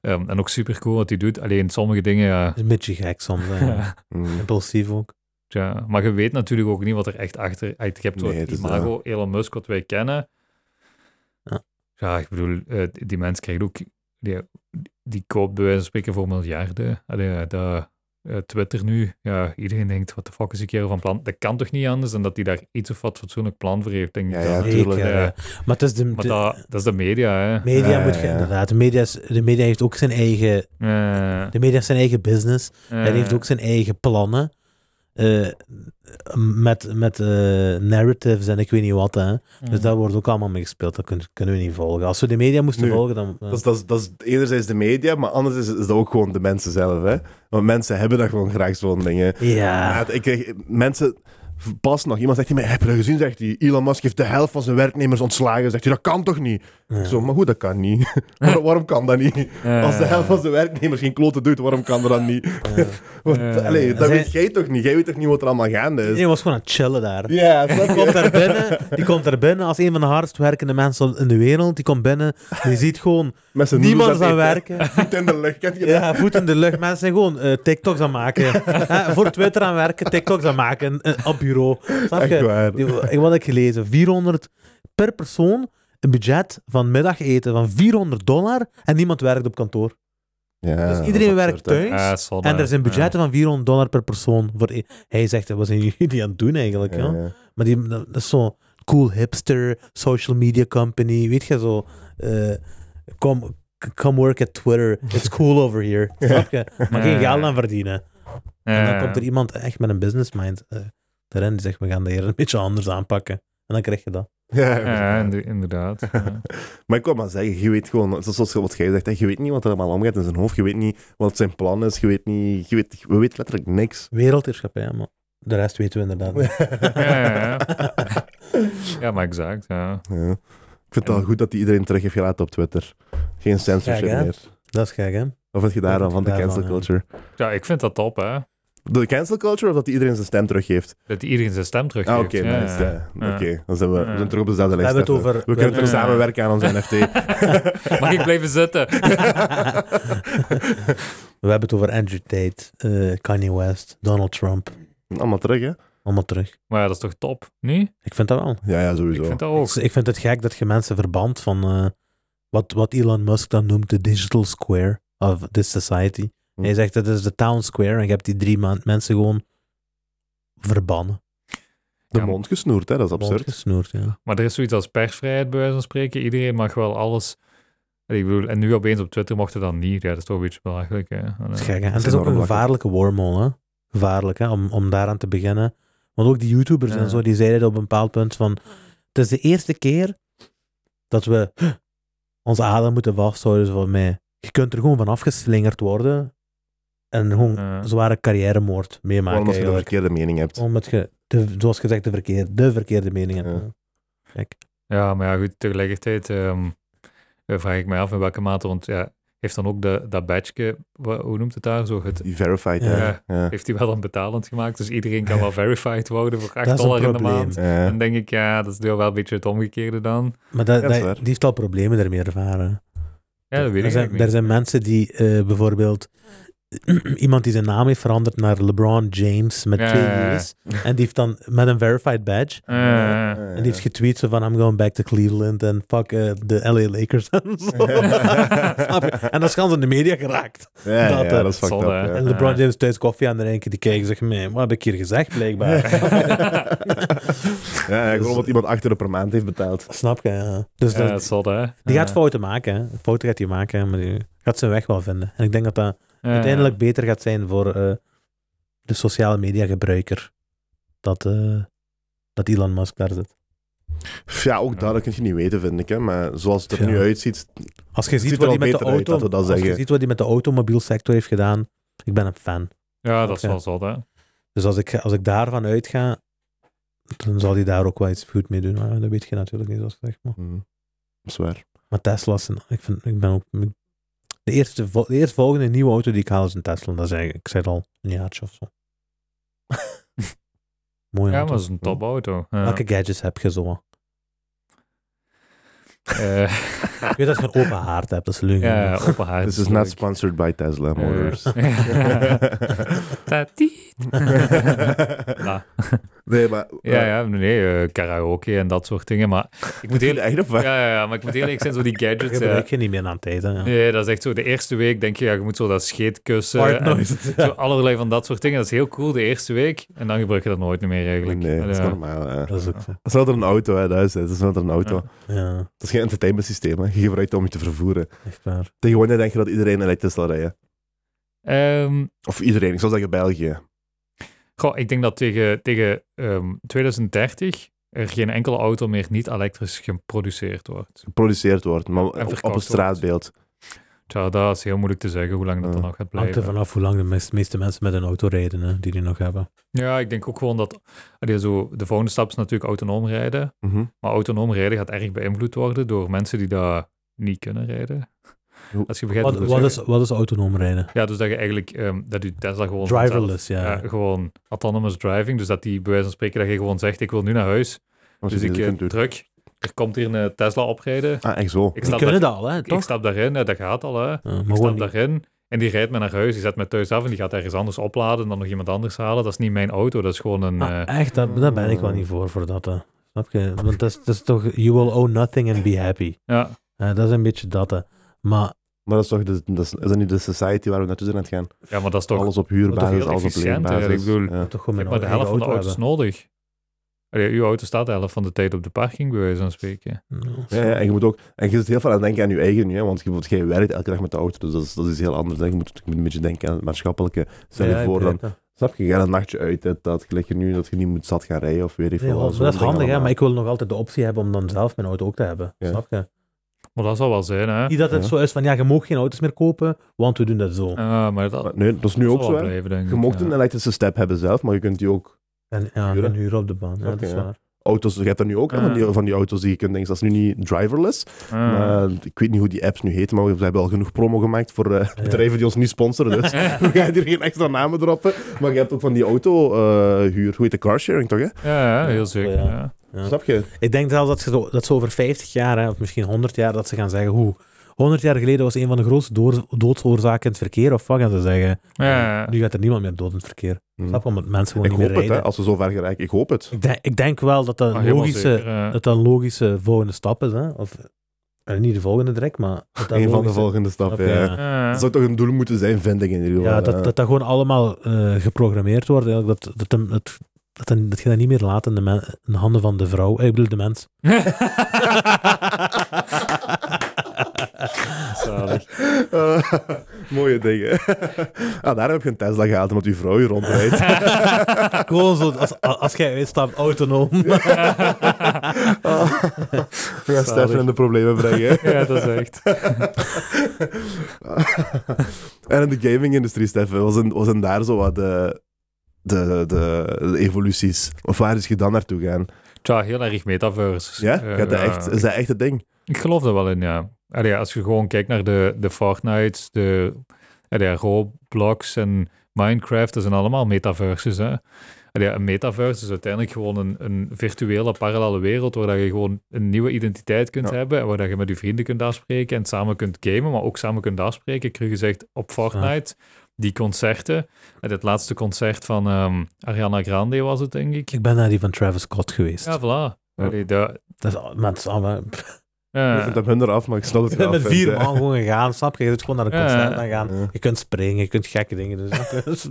C: ehm, en ook super cool wat hij doet. Alleen sommige dingen... ja,
B: Is Een beetje gek soms, hè. ja.
A: Mm.
B: Impulsief ook.
C: Tja, maar je weet natuurlijk ook niet wat er echt achter... Je hebt zo'n
A: Nee, het is,
C: imago, Elon Musk, wat wij kennen.
B: Ja.
C: Ja, ik bedoel, eh, die- die mens krijgt ook... Die, die koopt bij wijze van spreken voor miljarden. Allee, ja, dat, eh, Twitter nu, ja, iedereen denkt, wat de fuck is die kerel van plan? Dat kan toch niet anders dan dat hij daar iets of wat fatsoenlijk plan voor heeft, denk ik.
A: Ja,
C: dan.
A: ja,
B: Zeker,
A: tuurlijk,
B: ja.
C: ja.
B: Maar het is de,
C: Maar
B: de-
C: dat, dat is de media, hè.
B: media
A: Ja,
B: moet
A: ja,
B: je
A: ja.
B: inderdaad. De media, is- de media heeft ook zijn eigen,
C: Eh,
B: de media heeft zijn eigen business. Hij
C: eh,
B: heeft ook zijn eigen plannen. eh, met met eh, narratives en ik weet niet wat. Hè.
C: Mm.
B: Dus daar wordt ook allemaal mee gespeeld. Dat kun- kunnen we niet volgen. Als we de media moesten
A: Nu,
B: volgen, dan.
A: Dat is, dat, is, dat is enerzijds de media, maar anders is, is dat ook gewoon de mensen zelf. Hè? Want mensen hebben dat gewoon graag zo'n dingen.
B: ja.
A: Ja, ik kreeg, mensen, pas nog, iemand zegt tegen mij, heb je dat gezien? Zegt hij, Elon Musk heeft de helft van zijn werknemers ontslagen. Zegt hij, dat kan toch niet?
B: Ja.
A: Ik Zo, maar goed, dat kan niet. Waar- waarom kan dat niet?
C: eh,
A: Als de helft van zijn werknemers geen kloten doet, waarom kan dat dan niet?
B: ja.
A: Want,
C: Eh.
A: allee, dat
B: Zijn-
A: weet jij toch niet? Jij weet toch niet wat er allemaal gaande is?
B: Iedereen was gewoon aan het chillen daar.
A: Ja, snap
B: Die
A: je?
B: komt daar binnen, die komt daar binnen als een van de hardst werkende mensen in de wereld. Die komt binnen, je ziet gewoon,
A: Met zijn
B: niemand is
A: noedels
B: aan het
A: eten,
B: werken.
A: Voet in de lucht, kent je dat?
B: Ja, voet in de lucht. Mensen zijn gewoon eh, TikToks aan maken. Hè, voor Twitter aan werken, TikToks aan maken eh, op bureau. Snap
A: Echt
B: je?
A: waar.
B: Die- wat heb ik gelezen? 400 per persoon een budget van middageten van 400 dollar en niemand werkt op kantoor.
A: Ja,
B: Dus
A: dat
B: iedereen
A: is
B: werkt
A: absurd, hè.
B: thuis
C: eh, zonne.
B: en er zijn budgetten van 400 dollar per persoon. Voor e- Hij zegt, wat zijn jullie aan het doen eigenlijk? Ja,
A: Ja, ja.
B: Maar die, dat dat is zo'n cool hipster, social media company, weet je zo. eh, come, come work at Twitter, it's cool over here. Snap je? Maar geen
C: Ja.
B: geld aan verdienen.
C: Eh,
B: En dan komt er iemand echt met een business mind eh erin die zegt, we gaan dat hier een beetje anders aanpakken. En dan krijg je dat.
A: Ja,
C: eh, inder- inderdaad. ja.
A: Maar ik wil maar zeggen, je weet gewoon, zo- zoals wat jij zegt, hè, je weet niet wat er allemaal omgaat in zijn hoofd, je weet niet wat zijn plan is, je weet niet, je weet, we weten letterlijk niks.
B: Wereldheerschappij, maar de rest weten we inderdaad niet.
C: ja, Ja, maar exact, ja.
A: Ja. Ik vind het wel goed dat hij iedereen terug heeft gelaten op Twitter. Geen censorship
B: Gek, hè?
A: meer.
B: dat is gek, hè?
A: Of wat je daar dan
B: Wat
A: van de
B: vind je
A: cancel
B: daarvan,
A: culture?
C: Ja, ik vind dat top, hè.
A: De cancel culture of dat hij iedereen zijn stem teruggeeft?
C: Dat iedereen zijn stem teruggeeft.
A: Ah, oké,
C: ja.
A: nice. ja.
C: Ja.
A: Oké, dan zijn we, we zijn terug op dezelfde
B: We
A: lijst.
B: hebben het
A: Stefan.
B: over...
A: We kunnen terug
C: Ja.
A: samenwerken aan onze NFT.
C: Mag ik blijven zitten?
B: we hebben het over Andrew Tate, eh, Kanye West, Donald Trump.
A: Allemaal terug, hè?
B: Allemaal terug.
C: Maar ja, dat is toch top, niet?
B: Ik vind dat wel.
A: Ja, ja, sowieso.
C: Ik vind dat ook.
B: Dus ik vind het gek dat je mensen verbandt van eh, wat, wat Elon Musk dan noemt de digital square of this society.
A: Hm.
B: Hij zegt dat is de town square en je hebt die drie man- mensen gewoon verbannen.
A: De
C: Ja,
A: mond gesnoerd, hè? Dat is
B: Mond
A: absurd.
B: gesnoerd, ja.
C: Maar er is zoiets als persvrijheid, bij wijze van spreken. Iedereen mag wel alles... Ik bedoel, en nu opeens op Twitter mocht het dan niet. Ja, dat is toch een beetje belachelijk, hè. En,
B: Dat
C: eh,
B: is gek, hè. En het
A: is
B: is ook een
A: enorm
B: gevaarlijke wormhole, hè. Gevaarlijk, hè, om, om daaraan te beginnen. Want ook die YouTubers
C: Ja.
B: en zo, die zeiden op een bepaald punt van... Het is de eerste keer dat we onze adem moeten vasthouden van mij. Je kunt er gewoon van afgeslingerd worden en gewoon
C: Ja.
B: zware carrièremoord
A: Gewoon
B: meemaken.
A: omdat je de
B: eigenlijk.
A: verkeerde mening hebt.
B: Omdat je, de, zoals gezegd, de verkeerde, de verkeerde mening hebt.
A: Ja.
B: Ja.
C: Ja, maar ja, goed, tegelijkertijd ehm, eh, vraag ik mij af in welke mate, want ja, heeft dan ook de, dat badge, wa- hoe noemt het daar zo? Het,
A: Die verified,
C: Ja.
A: hè? Ja.
C: heeft hij wel dan betalend gemaakt, dus iedereen kan wel verified worden voor 8
B: Dat is een
C: dollar in de
B: probleem.
C: maand.
A: Ja.
C: Dan denk ik, ja, dat is wel een beetje het omgekeerde dan.
B: Maar
A: Ja,
B: dat,
A: dat is
B: dat-
A: waar.
B: die heeft al problemen daarmee ervaren.
C: Ja, dat weet
B: er
C: ik
B: zijn,
C: eigenlijk
B: er zijn mensen die eh, bijvoorbeeld iemand die zijn naam heeft veranderd naar LeBron James met
C: Ja,
B: twee
C: ja, ja.
B: U's. En die heeft dan met een verified badge.
C: Eh.
B: En die heeft getweet zo van, I'm going back to Cleveland en fuck eh, de LA Lakers en zo. Snap je? en dat is gans in de media geraakt.
A: Ja, ja,
B: dat,
A: ja,
B: eh,
A: dat is fucked
C: zal,
A: up.
C: eh,
A: ja.
B: En LeBron James thuis koffie aan drinken, die kijken zich mee. Wat heb ik hier gezegd, blijkbaar?
A: Ja, ja, gewoon wat iemand 8 euro per maand heeft betaald.
B: Snap je? ja. Dus
C: Ja,
B: dat-
C: dat zal dat.
B: die gaat fouten maken. Hè. Fouten gaat hij maken, hè, maar die gaat zijn weg wel vinden. En ik denk dat dat uiteindelijk beter gaat zijn voor eh, de sociale media gebruiker. Dat, eh, dat Elon Musk daar zit.
A: Pff, Ja, ook dat, dat kun je niet weten, vind ik. Hè. Maar zoals het er
B: Ja.
A: nu uitziet,
B: Als je
A: Het
B: ziet
A: ziet er
B: wat hij
A: al
B: met de
A: beter uit,
B: auto,
A: laten we dat
B: als je
A: zeggen.
B: ziet wat hij met de automobielsector heeft gedaan, ik ben een fan.
C: Ja, dat
B: Oké.
C: zal zal dat.
B: Dus als ik, als ik daarvan uitga, dan zal hij daar ook wel iets goed mee doen. Maar dat weet je natuurlijk niet, zoals gezegd. Maar,
A: hm, dat is waar.
B: maar Tesla's, zijn- ik, vind, ik ben ook... De, eerste, vol- de eerstvolgende nieuwe auto die ik haal is een Tesla. Dat zeg ik, ik zei het al, een jaartje of zo.
C: Ja,
B: Mooi
C: maar
B: auto.
C: dat is een topauto. Ja.
B: Welke gadgets heb je zo?
C: Eh,
B: Ik weet dat je een open haard hebt, dat is leuk.
C: ja, op haar.
A: This is not sponsored by Tesla
C: Eh.
A: Motors.
C: Tati. Ah.
A: nee, maar...
C: Ja, ja, nee, eh, karaoke en dat soort dingen. Maar ik moet
A: Heel
C: eerlijk,
A: echt of
C: ja,
A: waar?
C: ja, ja, maar ik moet eerlijk zijn, zo die
B: Dat
C: gadgets. eh,
B: gebruik je niet meer aan tijden. Ja.
C: Nee, dat is echt zo. De eerste week denk je, ja, je moet zo dat scheet kussen.
B: Hard
C: eh, en
B: noise.
C: Zo allerlei van dat soort dingen. Dat is heel cool de eerste week. En dan gebruik je dat nooit meer eigenlijk.
A: Nee, dat is
C: Ja.
A: normaal. hè.
B: Dat is ook zo.
A: Dat is wel een auto, hè, thuis. hè. Dat is wel een auto.
C: Ja.
B: Ja,
A: Dat is geen entertainment systeem, hè. Je gebruikt het om je te vervoeren.
B: echt waar.
A: Tegenwoordig denk je dat iedereen elektrisch zal rijden.
C: Ehm,
A: Of iedereen, ik zou zeggen België.
C: goh, ik denk dat tegen, tegen ehm, 2030 er geen enkele auto meer niet elektrisch geproduceerd wordt.
A: Geproduceerd wordt, maar
C: En
A: op,
C: verkoopt
A: op een
C: wordt.
A: straatbeeld.
C: Tja, dat is heel moeilijk te zeggen hoe lang dat
A: Ja.
C: er nog gaat
B: Hangt er
C: blijven.
B: vanaf hoe lang de meest- meeste mensen met een auto rijden, hè, die die nog hebben.
C: Ja, ik denk ook gewoon dat allee, zo, de volgende stap is natuurlijk autonoom rijden.
A: Mhm.
C: Maar autonoom rijden gaat erg beïnvloed worden door mensen die daar niet kunnen rijden.
A: Hoe-
C: Als je begrijpt
B: Wat,
C: ik
B: wat,
C: wil
B: is,
C: zeggen.
B: wat is autonoom rijden?
C: Ja, dus dat je eigenlijk, ehm, dat je Tesla gewoon...
B: Driverless,
C: vanzelf-
B: ja.
C: ja, gewoon autonomous driving. Dus dat die bij wijze van spreken, dat je gewoon zegt, ik wil nu naar huis.
A: Als je
C: Dus ik
A: dit
C: eh,
A: kunt doen.
C: druk, er komt hier een Tesla oprijden.
A: Ah, echt zo.
C: Ik
B: Die
C: stap,
B: kunnen
C: daar-
B: dat al, hè,
C: ik
B: toch?
C: stap daarin, ja, dat gaat al hè. Ik
B: Ja, maar
C: stap
B: gewoon niet.
C: daarin en die rijdt me naar huis. Die zet me thuis af en die gaat ergens anders opladen en dan nog iemand anders halen. Dat is niet mijn auto, dat is gewoon een...
B: Ah,
C: eh,
B: echt, daar, daar ben ik wel niet voor, voor dat. hè. Snap je? Want dat is, dat is toch, you will own nothing and be happy.
C: ja.
B: Eh, dat is een beetje dat. hè. Maar
A: Maar dat is toch de, dat is, is dat niet de society waar we naartoe zijn aan het gaan?
C: ja, maar dat is toch...
A: alles op huurbasis,
C: heel
A: alles op
C: efficiënt, hè.
A: leenbasis.
C: Ik bedoel,
A: Ja.
B: toch gewoon
C: je
B: mijn
C: hebt maar de helft van de
B: eigen
C: auto's nodig. Allee, uw auto staat de helft van de tijd op de parking, bij wijze van spreken.
B: hebben.
A: Ja, ja, en je moet ook, en je zit heel veel aan het denken aan je eigen nu, hè, want je, want jij werkt elke dag met de auto, dus dat is, dat is heel anders. hè. Je moet, je moet een beetje denken aan het maatschappelijke. Stel je
B: Ja, ik
A: voor, dan,
B: begrijp dat.
A: snap je, je gaat een nachtje uit, hè, dat gelijk je nu dat je niet moet zat gaan rijden of weet ik
B: Nee,
A: veel.
B: wel,
A: zo'n
B: dat is
A: ding
B: handig, hè,
A: allemaal.
B: maar ik wil nog altijd de optie hebben om dan zelf mijn auto ook te hebben.
A: Ja.
B: Snap je?
C: Maar dat zal wel zijn, hè.
B: Niet dat het
A: Ja.
B: zo is van, ja, je mag geen auto's meer kopen, want we doen dat zo.
C: Ja, Ah, maar dat,
A: Maar nee, dat is nu
C: zal
A: ook
C: wel
A: zo, hè.
C: blijven, denk ik.
A: Je mocht
C: ja.
A: een elektrische step hebben zelf, maar je kunt die ook...
B: En ja,
A: Huren?
B: een huur op de baan, ja, dat
A: Oké,
B: is
A: ja.
B: waar.
A: Auto's, je hebt er nu ook hè, van, die,
C: Ah.
A: van die auto's die je kunt denken, dat is nu niet driverless.
C: Ah.
A: Maar ik weet niet hoe die apps nu heten, maar we hebben al genoeg promo gemaakt voor eh, bedrijven die ons niet sponsoren. Dus we gaan hier geen extra namen droppen. Maar je hebt ook van die auto-huur. hoe heet de carsharing toch? Hè?
C: Ja, ja, heel zeker.
B: Ja.
C: ja.
B: Ja.
A: Snap je?
B: Ik denk zelfs dat ze, zo, dat ze over 50 jaar, hè, of misschien 100 jaar, dat ze gaan zeggen, hoe... 100 jaar geleden was een van de grootste door- doodsoorzaken in het verkeer, of wat gaan ze zeggen?
C: Ja, ja.
B: Nu gaat er niemand meer dood in het verkeer.
A: Hm.
B: Snap je? Omdat mensen gewoon
A: Ik
B: niet
A: hoop
B: meer
A: het, hè,
B: rijden.
A: als we zo ver geraken. Ik hoop het.
B: ik, denk, ik denk wel dat dat
C: Ah,
B: een
C: helemaal
B: logische,
C: zeker, ja.
B: dat dat een logische volgende stap is. Hè? Of, eh, niet de volgende direct, maar... dat dat
A: Een van de
B: logische-
A: volgende stappen.
B: Oké,
A: ja.
B: ja.
C: Ja.
A: Dat zou toch een doel moeten zijn, vind ik in ieder geval.
B: Ja, dat, dat dat gewoon allemaal eh, geprogrammeerd wordt. eigenlijk, Dat, dat, hem- dat, dat, hem- dat je dat niet meer laat in de, men- in de handen van de vrouw. Eh, Ik bedoel, de mens.
C: Zalig.
A: Eh, mooie dingen. ah, daar heb je een Tesla gehaald, omdat uw vrouw hier rondrijdt. Ah.
B: Gewoon zo, als, als jij uitstapt, autonoom.
A: We gaan Stefan in de problemen brengen.
C: ja, dat is echt.
A: en in de gaming-industrie, Stefan, was, een- was een daar zo wat de, de, de, de evoluties? Of waar is je dan naartoe gaan?
C: Tja, heel erg metaverse.
A: Ja?
C: Eh,
A: Gaat dat echt, is dat echt het ding?
C: Ik geloof dat wel in, ja. Allee, ja, als je gewoon kijkt naar de, de Fortnite, de allee, ja, Roblox en Minecraft, dat zijn allemaal metaverses, hè. Allee, ja, een metaverse is uiteindelijk gewoon een, een virtuele, parallele wereld waar dat je gewoon een nieuwe identiteit kunt
A: Ja.
C: hebben en waar dat je met je vrienden kunt afspreken en samen kunt gamen, maar ook samen kunt afspreken. Ik heb gezegd op Fortnite, die concerten. En het laatste concert van ehm, Ariana Grande was het, denk ik.
B: Ik ben naar die van Travis Scott geweest.
C: Ja, voilà. Allee, dat-
B: Dat is, al- maar het is allemaal... Ik
C: eh,
A: Ik vind dat hun eraf, maar ik snap het
B: ben
A: wel.
B: met vier man gewoon gegaan, snap je? Je kunt gewoon naar een
C: Ja.
B: concert dan gaan.
A: Ja.
B: Je kunt springen, je kunt gekke dingen doen. snap je? Dus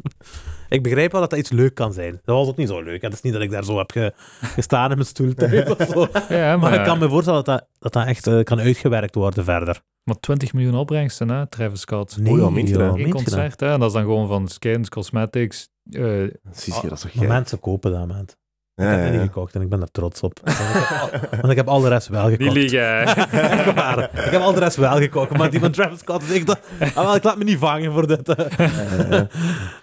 B: ik begrijp wel dat dat iets leuk kan zijn. Dat was ook niet zo leuk. Het is niet dat ik daar zo heb ge- gestaan in mijn stoel thuis of zo.
C: ja,
B: Maar
C: maar,
B: ik kan me voorstellen dat dat, dat, dat echt eh, kan uitgewerkt worden verder.
C: maar 20 miljoen opbrengsten, hè, Travis Scott.
A: ja, meent je dat?
B: joh,
C: Eén
B: meent je dat?
C: concert, hè. En dat is dan gewoon van skins, cosmetics. eh,
A: Zie je, dat is toch
B: Maar
A: gek?
B: mensen kopen dat, man. Ik
A: Ja,
B: heb
A: ja,
B: die niet
A: ja.
B: gekocht en ik ben er trots op. Want ik heb al, want ik heb al de rest wel gekocht.
C: die liegen.
B: Echt waar. Ik heb al de rest wel gekocht, maar die van Travis Scott is echt... Ah, wel, ik laat me niet vangen voor dit. eh.
A: ja.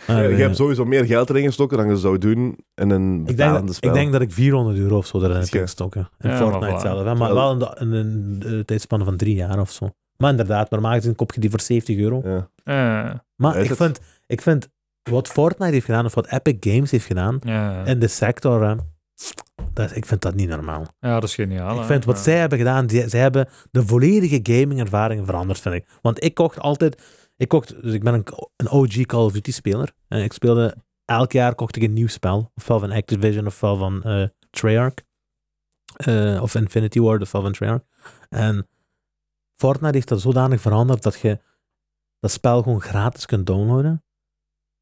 A: Ja, je hebt sowieso meer geld erin gestoken dan je zou doen in een
B: ik, denk
A: betalende
B: dat,
A: spel.
B: ik denk dat ik 400 euro of zo erin heb
A: Zie je.
B: gestoken. In
C: Ja, maar
B: Fortnite
C: voilà.
B: zelf. Hè? Maar wel in, de, in een eh, tijdspanne van drie jaar of zo. Maar inderdaad, normaal gezien koop je die voor 70 euro.
A: Ja.
C: Eh,
B: Maar
A: Is
B: ik
A: het?
B: vind, ik vind wat Fortnite heeft gedaan, of wat Epic Games heeft gedaan,
C: ja.
B: in de sector, hè, dat, is- ik vind dat niet normaal.
C: ja, dat is geniaal.
B: ik
C: hè.
B: vind wat
C: Ja.
B: zij hebben gedaan, die- zij hebben de volledige gamingervaring veranderd, vind ik. Want ik kocht altijd, ik kocht, dus ik ben een, een OG Call of Duty speler. En ik speelde, elk jaar kocht ik een nieuw spel. Ofwel van Activision, ofwel van eh, Treyarch. Eh, of Infinity Ward, ofwel van Treyarch. En Fortnite heeft dat zodanig veranderd dat je dat spel gewoon gratis kunt downloaden.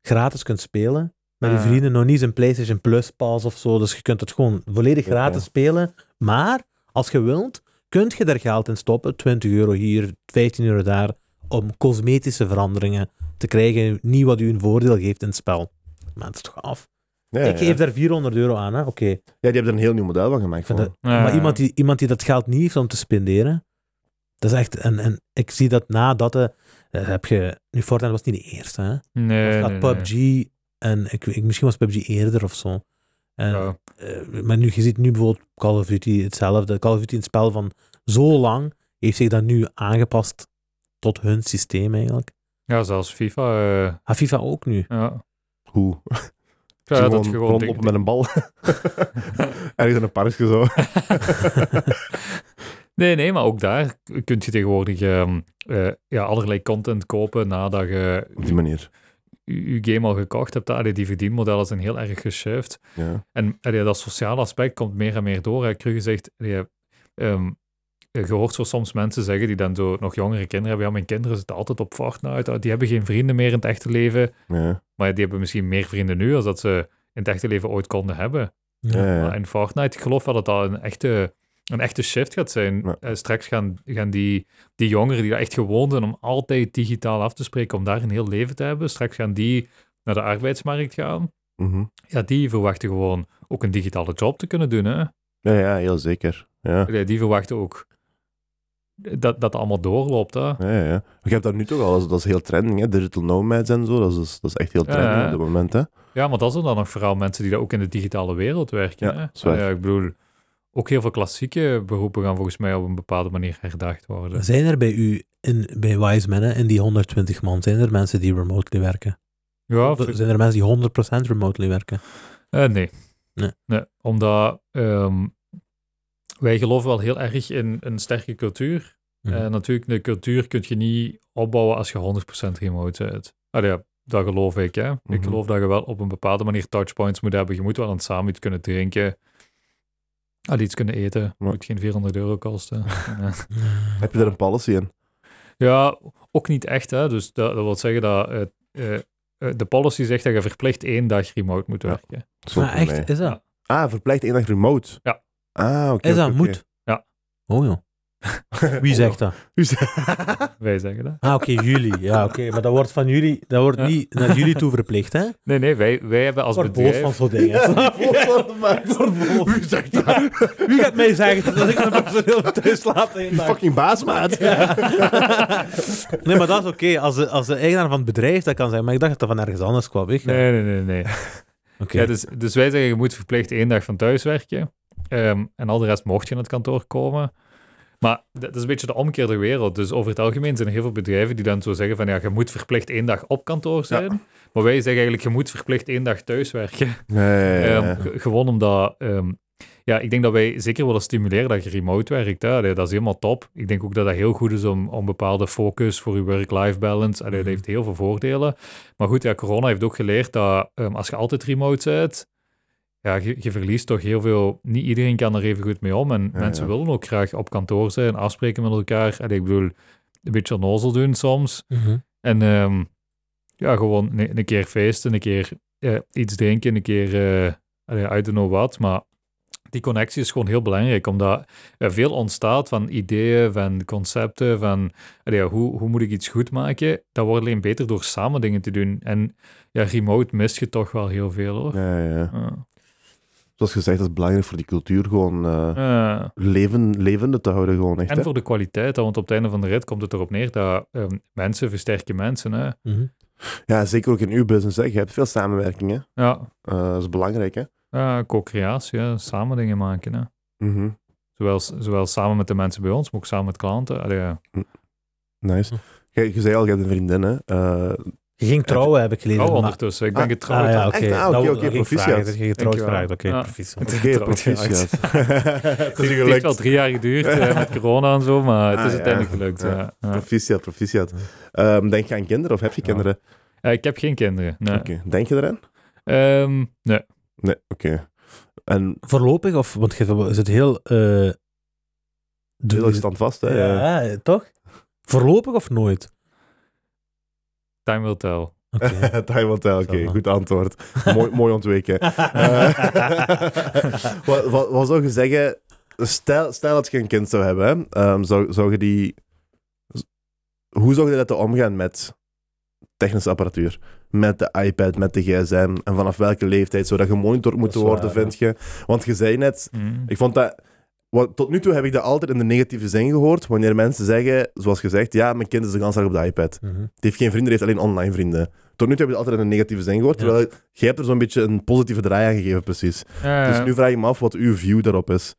B: Gratis kunt spelen. Met je
C: Ah.
B: vrienden, nog niet een PlayStation Plus Pass of zo. Dus je kunt het gewoon volledig
A: Ja.
B: gratis spelen. Maar als je wilt, kunt je daar geld in stoppen. 20 euro hier, 15 euro daar. Om cosmetische veranderingen te krijgen. Niet wat u een voordeel geeft in het spel. Maar het is toch af.
A: Ja, ja,
B: ik geef daar 400 euro aan, hè? Oké.
A: ja, die hebben er een heel nieuw model van gemaakt.
B: vind
A: man.
B: dat-
C: Ja.
B: Maar iemand die, iemand die dat geld niet heeft om te spenderen, dat is echt... En, en ik zie dat nadat... eh, eh, heb je... Nu, Fortnite was niet de eerste, hè?
C: Nee,
B: Of dat
C: nee, nee.
B: PUBG... En ik, ik, misschien was PUBG eerder of zo. En,
C: Ja.
B: eh, maar nu, je ziet nu bijvoorbeeld Call of Duty hetzelfde. Call of Duty, een spel van zo lang, heeft zich dat nu aangepast tot hun systeem eigenlijk.
C: Ja, zelfs FIFA. eh,
B: Ah, FIFA ook nu.
C: ja.
A: Hoe?
C: Ja,
A: Zo
C: dat je gewoon
A: rondlopen met een bal. Ergens in een parkje zo.
C: Nee, nee, maar ook daar kun je tegenwoordig ehm, eh, ja, allerlei content kopen nadat je
A: Op die manier.
C: je je game al gekocht hebt. Allee, die verdienmodellen zijn heel erg geshift.
A: Ja.
C: En allee, dat sociale aspect komt meer en meer door. hè. Kruger zegt, allee, ehm, je hoort zo soms mensen zeggen die dan zo nog jongere kinderen hebben. Ja, mijn kinderen zitten altijd op Fortnite. Ah, Die hebben geen vrienden meer in het echte leven.
A: Ja.
C: Maar die hebben misschien meer vrienden nu als dat ze in het echte leven ooit konden hebben.
A: Ja, ja,
C: Maar
A: ja.
C: in Fortnite, ik geloof wel dat dat een echte, een echte shift gaat zijn.
A: Ja.
C: Eh, straks gaan, gaan die, die jongeren die dat echt gewoon zijn om altijd digitaal af te spreken, om daar een heel leven te hebben, straks gaan die naar de arbeidsmarkt gaan
A: Mhm.
C: ja, die verwachten gewoon ook een digitale job te kunnen doen. Hè?
A: ja, ja, heel zeker. Ja.
C: Allee, Die verwachten ook dat dat allemaal doorloopt. Hè?
A: Ja, ja, ja. Je hebt dat nu toch al, dat is, dat is heel trending, hè? digital nomads en zo, dat is, dus- dat is echt heel trending
C: Ja, ja.
A: op dit moment. Hè?
C: Ja, maar dat zijn dan nog vooral mensen die dat ook in de digitale wereld werken.
A: Ja,
C: hè?
A: dat is waar.
C: Allee, ik bedoel, ook heel veel klassieke beroepen gaan volgens mij op een bepaalde manier herdacht worden.
B: Zijn er bij u, in, bij Wise Men, hè, in die 120 man, zijn er mensen die remotely werken?
C: Ja,
B: Of
C: v-
B: Zijn er mensen die 100% remotely werken?
C: eh, nee.
B: Nee.
C: Omdat ehm, wij geloven wel heel erg in een sterke cultuur.
B: Mhm.
C: En natuurlijk, de cultuur kun je niet opbouwen als je 100% remote bent. Allee, ja, dat geloof ik. Hè? Ik
A: Mhm.
C: geloof dat je wel op een bepaalde manier touchpoints moet hebben. Je moet wel aan het samen iets kunnen drinken. Al iets kunnen eten.
A: Maar-
C: Moet geen 400 euro kosten. Ja.
A: Heb je daar een policy in?
C: ja, ook niet echt. Hè? Dus dat, dat wil zeggen dat eh, eh, eh, de policy zegt dat je verplicht één dag remote moet
A: Ja.
C: werken.
A: Zo
B: Maar
A: voor mij.
B: Ah, echt, is dat?
A: Ah, verplicht één dag remote.
C: Ja.
A: Ah, oké.
B: Is dat
A: oké, oké.
B: moet?
C: Ja.
B: Oh joh. Wie zegt dat?
A: U zegt-
C: Wij zeggen dat.
B: Ah, oké, jullie. Ja, oké, maar dat wordt van jullie, dat wordt
C: Ja.
B: niet naar jullie toe verplicht, hè?
C: Nee, nee, wij, wij hebben als
B: wordt boos
C: bedrijf...
B: van zo'n dingen. snap je? Ik word boos.
A: Wie zegt dat?
B: Wie gaat mij zeggen dat ik mijn personeel thuis laat? één
A: Die
B: dag?
A: fucking baas, maat.
B: Ja. nee, maar dat is oké. Als, de- als de eigenaar van het bedrijf dat kan zijn, maar ik dacht dat dat van ergens anders kwam. Weet je?
C: Nee, nee, nee, nee.
B: Oké.
C: Ja, dus, dus wij zeggen, je moet verplicht één dag van thuis werken. Ehm, en al de rest mocht je in het kantoor komen. Maar dat, dat is een beetje de omgekeerde wereld. Dus over het algemeen zijn er heel veel bedrijven die dan zo zeggen van, ja, je moet verplicht één dag op kantoor zijn. Maar wij zeggen eigenlijk, je moet verplicht één dag thuis werken.
A: Nee.
C: Ehm, ge- gewoon omdat ehm, ja, ik denk dat wij zeker willen stimuleren dat je remote werkt. Hè. Allee, dat is helemaal top. Ik denk ook dat dat heel goed is om, om bepaalde focus voor je work-life balance. Allee,
B: Mhm.
C: Dat heeft heel veel voordelen. Maar goed, ja, corona heeft ook geleerd dat ehm, als je altijd remote bent, ja, je, je verliest toch heel veel. Niet iedereen kan er even goed mee om. En
A: Ja,
C: mensen
A: ja.
C: willen ook graag op kantoor zijn, afspreken met elkaar. En ik bedoel, een beetje onnozel doen soms.
B: Mhm.
A: Mhm.
C: En ehm, ja, gewoon een, een keer feesten, een keer eh, iets drinken, een keer eh allee, I don't know what. Maar die connectie is gewoon heel belangrijk, omdat er veel ontstaat van ideeën, van concepten, van allee, ja, hoe, hoe moet ik iets goed maken. Dat wordt alleen beter door samen dingen te doen. En ja, remote mist je toch wel heel veel hoor.
A: Ja, ja, ja.
C: Ja.
A: Zoals gezegd, dat is belangrijk voor die cultuur gewoon eh,
C: Ja.
A: leven, levende te houden. Gewoon echt,
C: en
A: hè.
C: voor de kwaliteit, hè, want op het einde van de rit komt het erop neer dat ehm, mensen versterken mensen. Hè.
B: Mhm.
A: Ja, zeker ook in uw business. Hè. Je hebt veel samenwerking. Hè.
C: Ja,
A: Eh, dat is belangrijk. Hè.
C: ja co-creatie, hè, samen dingen maken. Hè.
A: Mhm.
C: Zowel, zowel samen met de mensen bij ons, maar ook samen met klanten. Allee, ja.
A: Nice.
C: Hm.
A: Je, je zei al, je hebt een vriendin. Hè. Eh,
B: Je ging trouwen, heb ik gelezen.
C: oh,
B: maar-
C: ondertussen. Ik ben
A: Ah,
C: getrouwd.
B: Ah, ja,
C: aan-
B: oké.
A: Echt? Ah, oké,
B: Dat-
A: oké,
B: dat ging ik
A: proficiat.
B: vragen. Dat je getrouwd
C: Dankjewel.
B: geraakt, oké,
C: Ja.
B: proficiat.
A: Oké,
C: Getrouwd
A: proficiat. het
C: Het
A: is
C: heeft- het heeft wel
A: gelukt.
C: drie jaar geduurd eh, met corona en zo, maar het is
A: Ah, ja.
C: uiteindelijk gelukt. Ja.
A: Ja.
C: ja.
A: Proficiat, proficiat. Ehm, denk je aan kinderen of heb je
C: Ja.
A: kinderen?
C: Eh, ik heb geen kinderen. Nee.
A: Oké. Denk je eraan?
C: Ehm, nee.
A: Nee, oké. En
B: Voorlopig, of, want je is het heel... eh
A: heel
B: de-
A: erg standvast, hè? Ja.
B: ja, eh, toch? Voorlopig of nooit?
C: Time will tell.
B: Oké.
A: Time will tell, oké.
B: Zal wel.
A: Goed antwoord. mooi, mooi ontweken. Eh, wat, wat, wat zou je zeggen? Stel, stel dat je een kind zou hebben, hè, ehm, zou, zou je die... z- Hoe zou je dat omgaan met technische apparatuur? Met de iPad, met de gsm? En vanaf welke leeftijd zou dat gemonitord moeten
B: is waar,
A: worden, vind je? Want je zei net,
C: Mm.
A: ik vond dat... Wat, tot nu toe heb ik dat altijd in de negatieve zin gehoord, wanneer mensen zeggen, zoals gezegd, ja, mijn kind is de hele dag op de iPad.
B: Mhm.
A: Die heeft geen vrienden, die heeft alleen online vrienden. Tot nu toe heb je het altijd in een negatieve zin gehoord, terwijl jij hebt er zo'n beetje een positieve draai aan gegeven, precies.
C: Ja,
A: Dus
C: ja.
A: nu vraag ik me af wat uw view daarop is.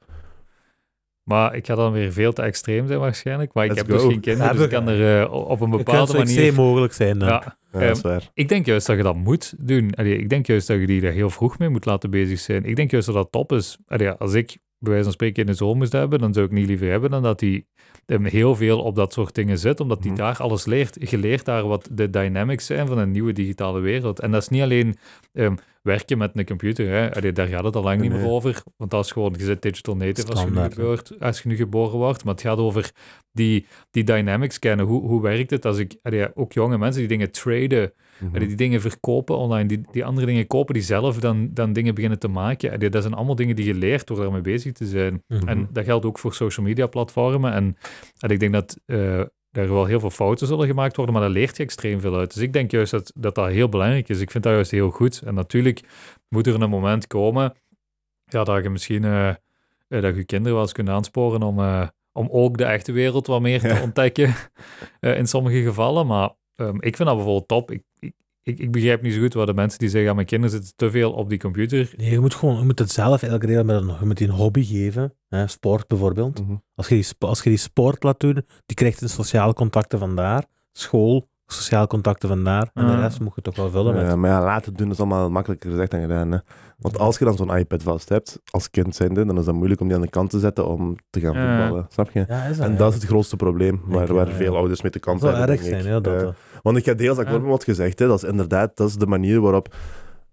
C: Maar ik ga dan weer veel te extreem zijn waarschijnlijk. Maar ik
A: Let's
C: heb dus
A: go.
C: geen kinderen,
B: Ja,
C: dus ik
B: dat-
C: kan er eh, op een
B: Je kunt
C: bepaalde
B: zo extreem
C: manier...
B: mogelijk zijn dan.
C: Ja,
A: Ja,
C: Ehm,
A: dat is waar.
C: ik denk juist dat je dat moet doen. Allee, ik denk juist dat je die er heel vroeg mee moet laten bezig zijn. Ik denk juist dat dat top is. Allee, ja, als ik bij wijze van spreken in de zomer moest hebben, dan zou ik niet liever hebben dan dat hij heel veel op dat soort dingen zit, omdat die
A: Mhm.
C: daar alles leert. Je leert daar wat de dynamics zijn van een nieuwe digitale wereld. En dat is niet alleen ehm, werken met een computer. Hè. Allee, daar gaat het al lang niet
A: Nee.
C: meer over, want dat is gewoon, je zit digital native als je, nu
B: Standaard, hè.
C: gebeurt, als je nu geboren wordt. Maar het gaat over die, die dynamics kennen. Hoe, hoe werkt het als ik... allee, ja, ook jonge mensen die dingen traden,
A: Mhm.
C: Allee, die dingen verkopen online, die, die andere dingen kopen, die zelf dan, dan dingen beginnen te maken. Allee, dat zijn allemaal dingen die je leert door daarmee bezig te zijn.
B: Mhm.
C: En dat geldt ook voor social media platformen. En, en ik denk dat eh er wel heel veel fouten zullen gemaakt worden, maar daar leert je extreem veel uit. Dus ik denk juist dat dat, dat heel belangrijk is. Ik vind dat juist heel goed. En natuurlijk moet er een moment komen ja, dat je misschien eh, eh, dat je kinderen wel eens kunt aansporen om, eh, om ook de echte wereld wat meer te
A: Ja.
C: ontdekken eh, in sommige gevallen. Maar ehm, ik vind dat bijvoorbeeld top. Ik, ik, ik, ik begrijp niet zo goed wat de mensen die zeggen, ja, mijn kinderen zitten te veel op die computer.
B: Nee, je moet, gewoon, je moet het zelf elke keer met een, je moet die een hobby geven. Hè, sport bijvoorbeeld.
A: Mhm.
B: Als je, die, sp- als je die sport laat doen, die krijgt zijn sociale contacten vandaar. School, sociale contacten vandaar. En de
C: Ah.
B: rest moet je toch wel vullen met.
A: Ja, maar ja, laten doen is allemaal makkelijker gezegd dan gedaan. Hè. Want als je dan zo'n iPad vast hebt, als kind zijnde, dan is dat moeilijk om die aan de kant te zetten om te gaan
C: Ja.
A: voetballen. Snap je?
B: Ja, is
A: En
B: hè?
A: dat is het grootste probleem
B: Denk
A: waar,
B: je,
A: waar
B: ja.
A: veel ouders mee te
B: Dat
A: kampen
B: zou
A: hebben.
B: erg
A: denk ik.
B: zijn, ja, dat eh.
A: Ja.
B: wel.
A: Want ik ga deels akkoord
C: Ja.
A: met wat gezegd. Hè. Dat is inderdaad dat is de manier waarop...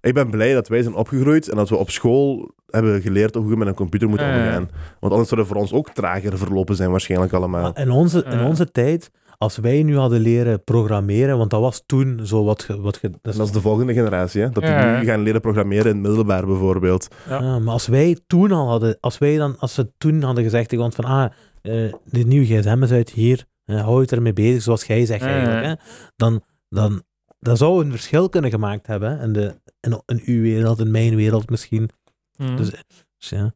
A: Ik ben blij dat wij zijn opgegroeid en dat we op school hebben geleerd hoe je met een computer moet
C: Ja.
A: omgaan. Want anders zouden voor ons ook trager verlopen zijn waarschijnlijk allemaal.
B: Maar in onze, in
C: Ja.
B: onze tijd, als wij nu hadden leren programmeren, want dat was toen zo wat... ge- wat ge- dat
A: En
B: is-
A: dat is de volgende generatie, hè? dat die
C: Ja.
A: nu gaan leren programmeren in het middelbaar bijvoorbeeld.
B: Ah, maar als wij toen al hadden, als wij dan, als ze toen hadden gezegd tegen ons van, ah, eh dit nieuwe gsm is uit hier, eh, hou je het ermee bezig, zoals jij zegt
C: Ja, ja,
B: eigenlijk, hè, dan, dan dat zou een verschil kunnen gemaakt hebben hè, in, de, in, in uw wereld, in mijn wereld misschien.
C: mm.
B: Dus, Dus ja.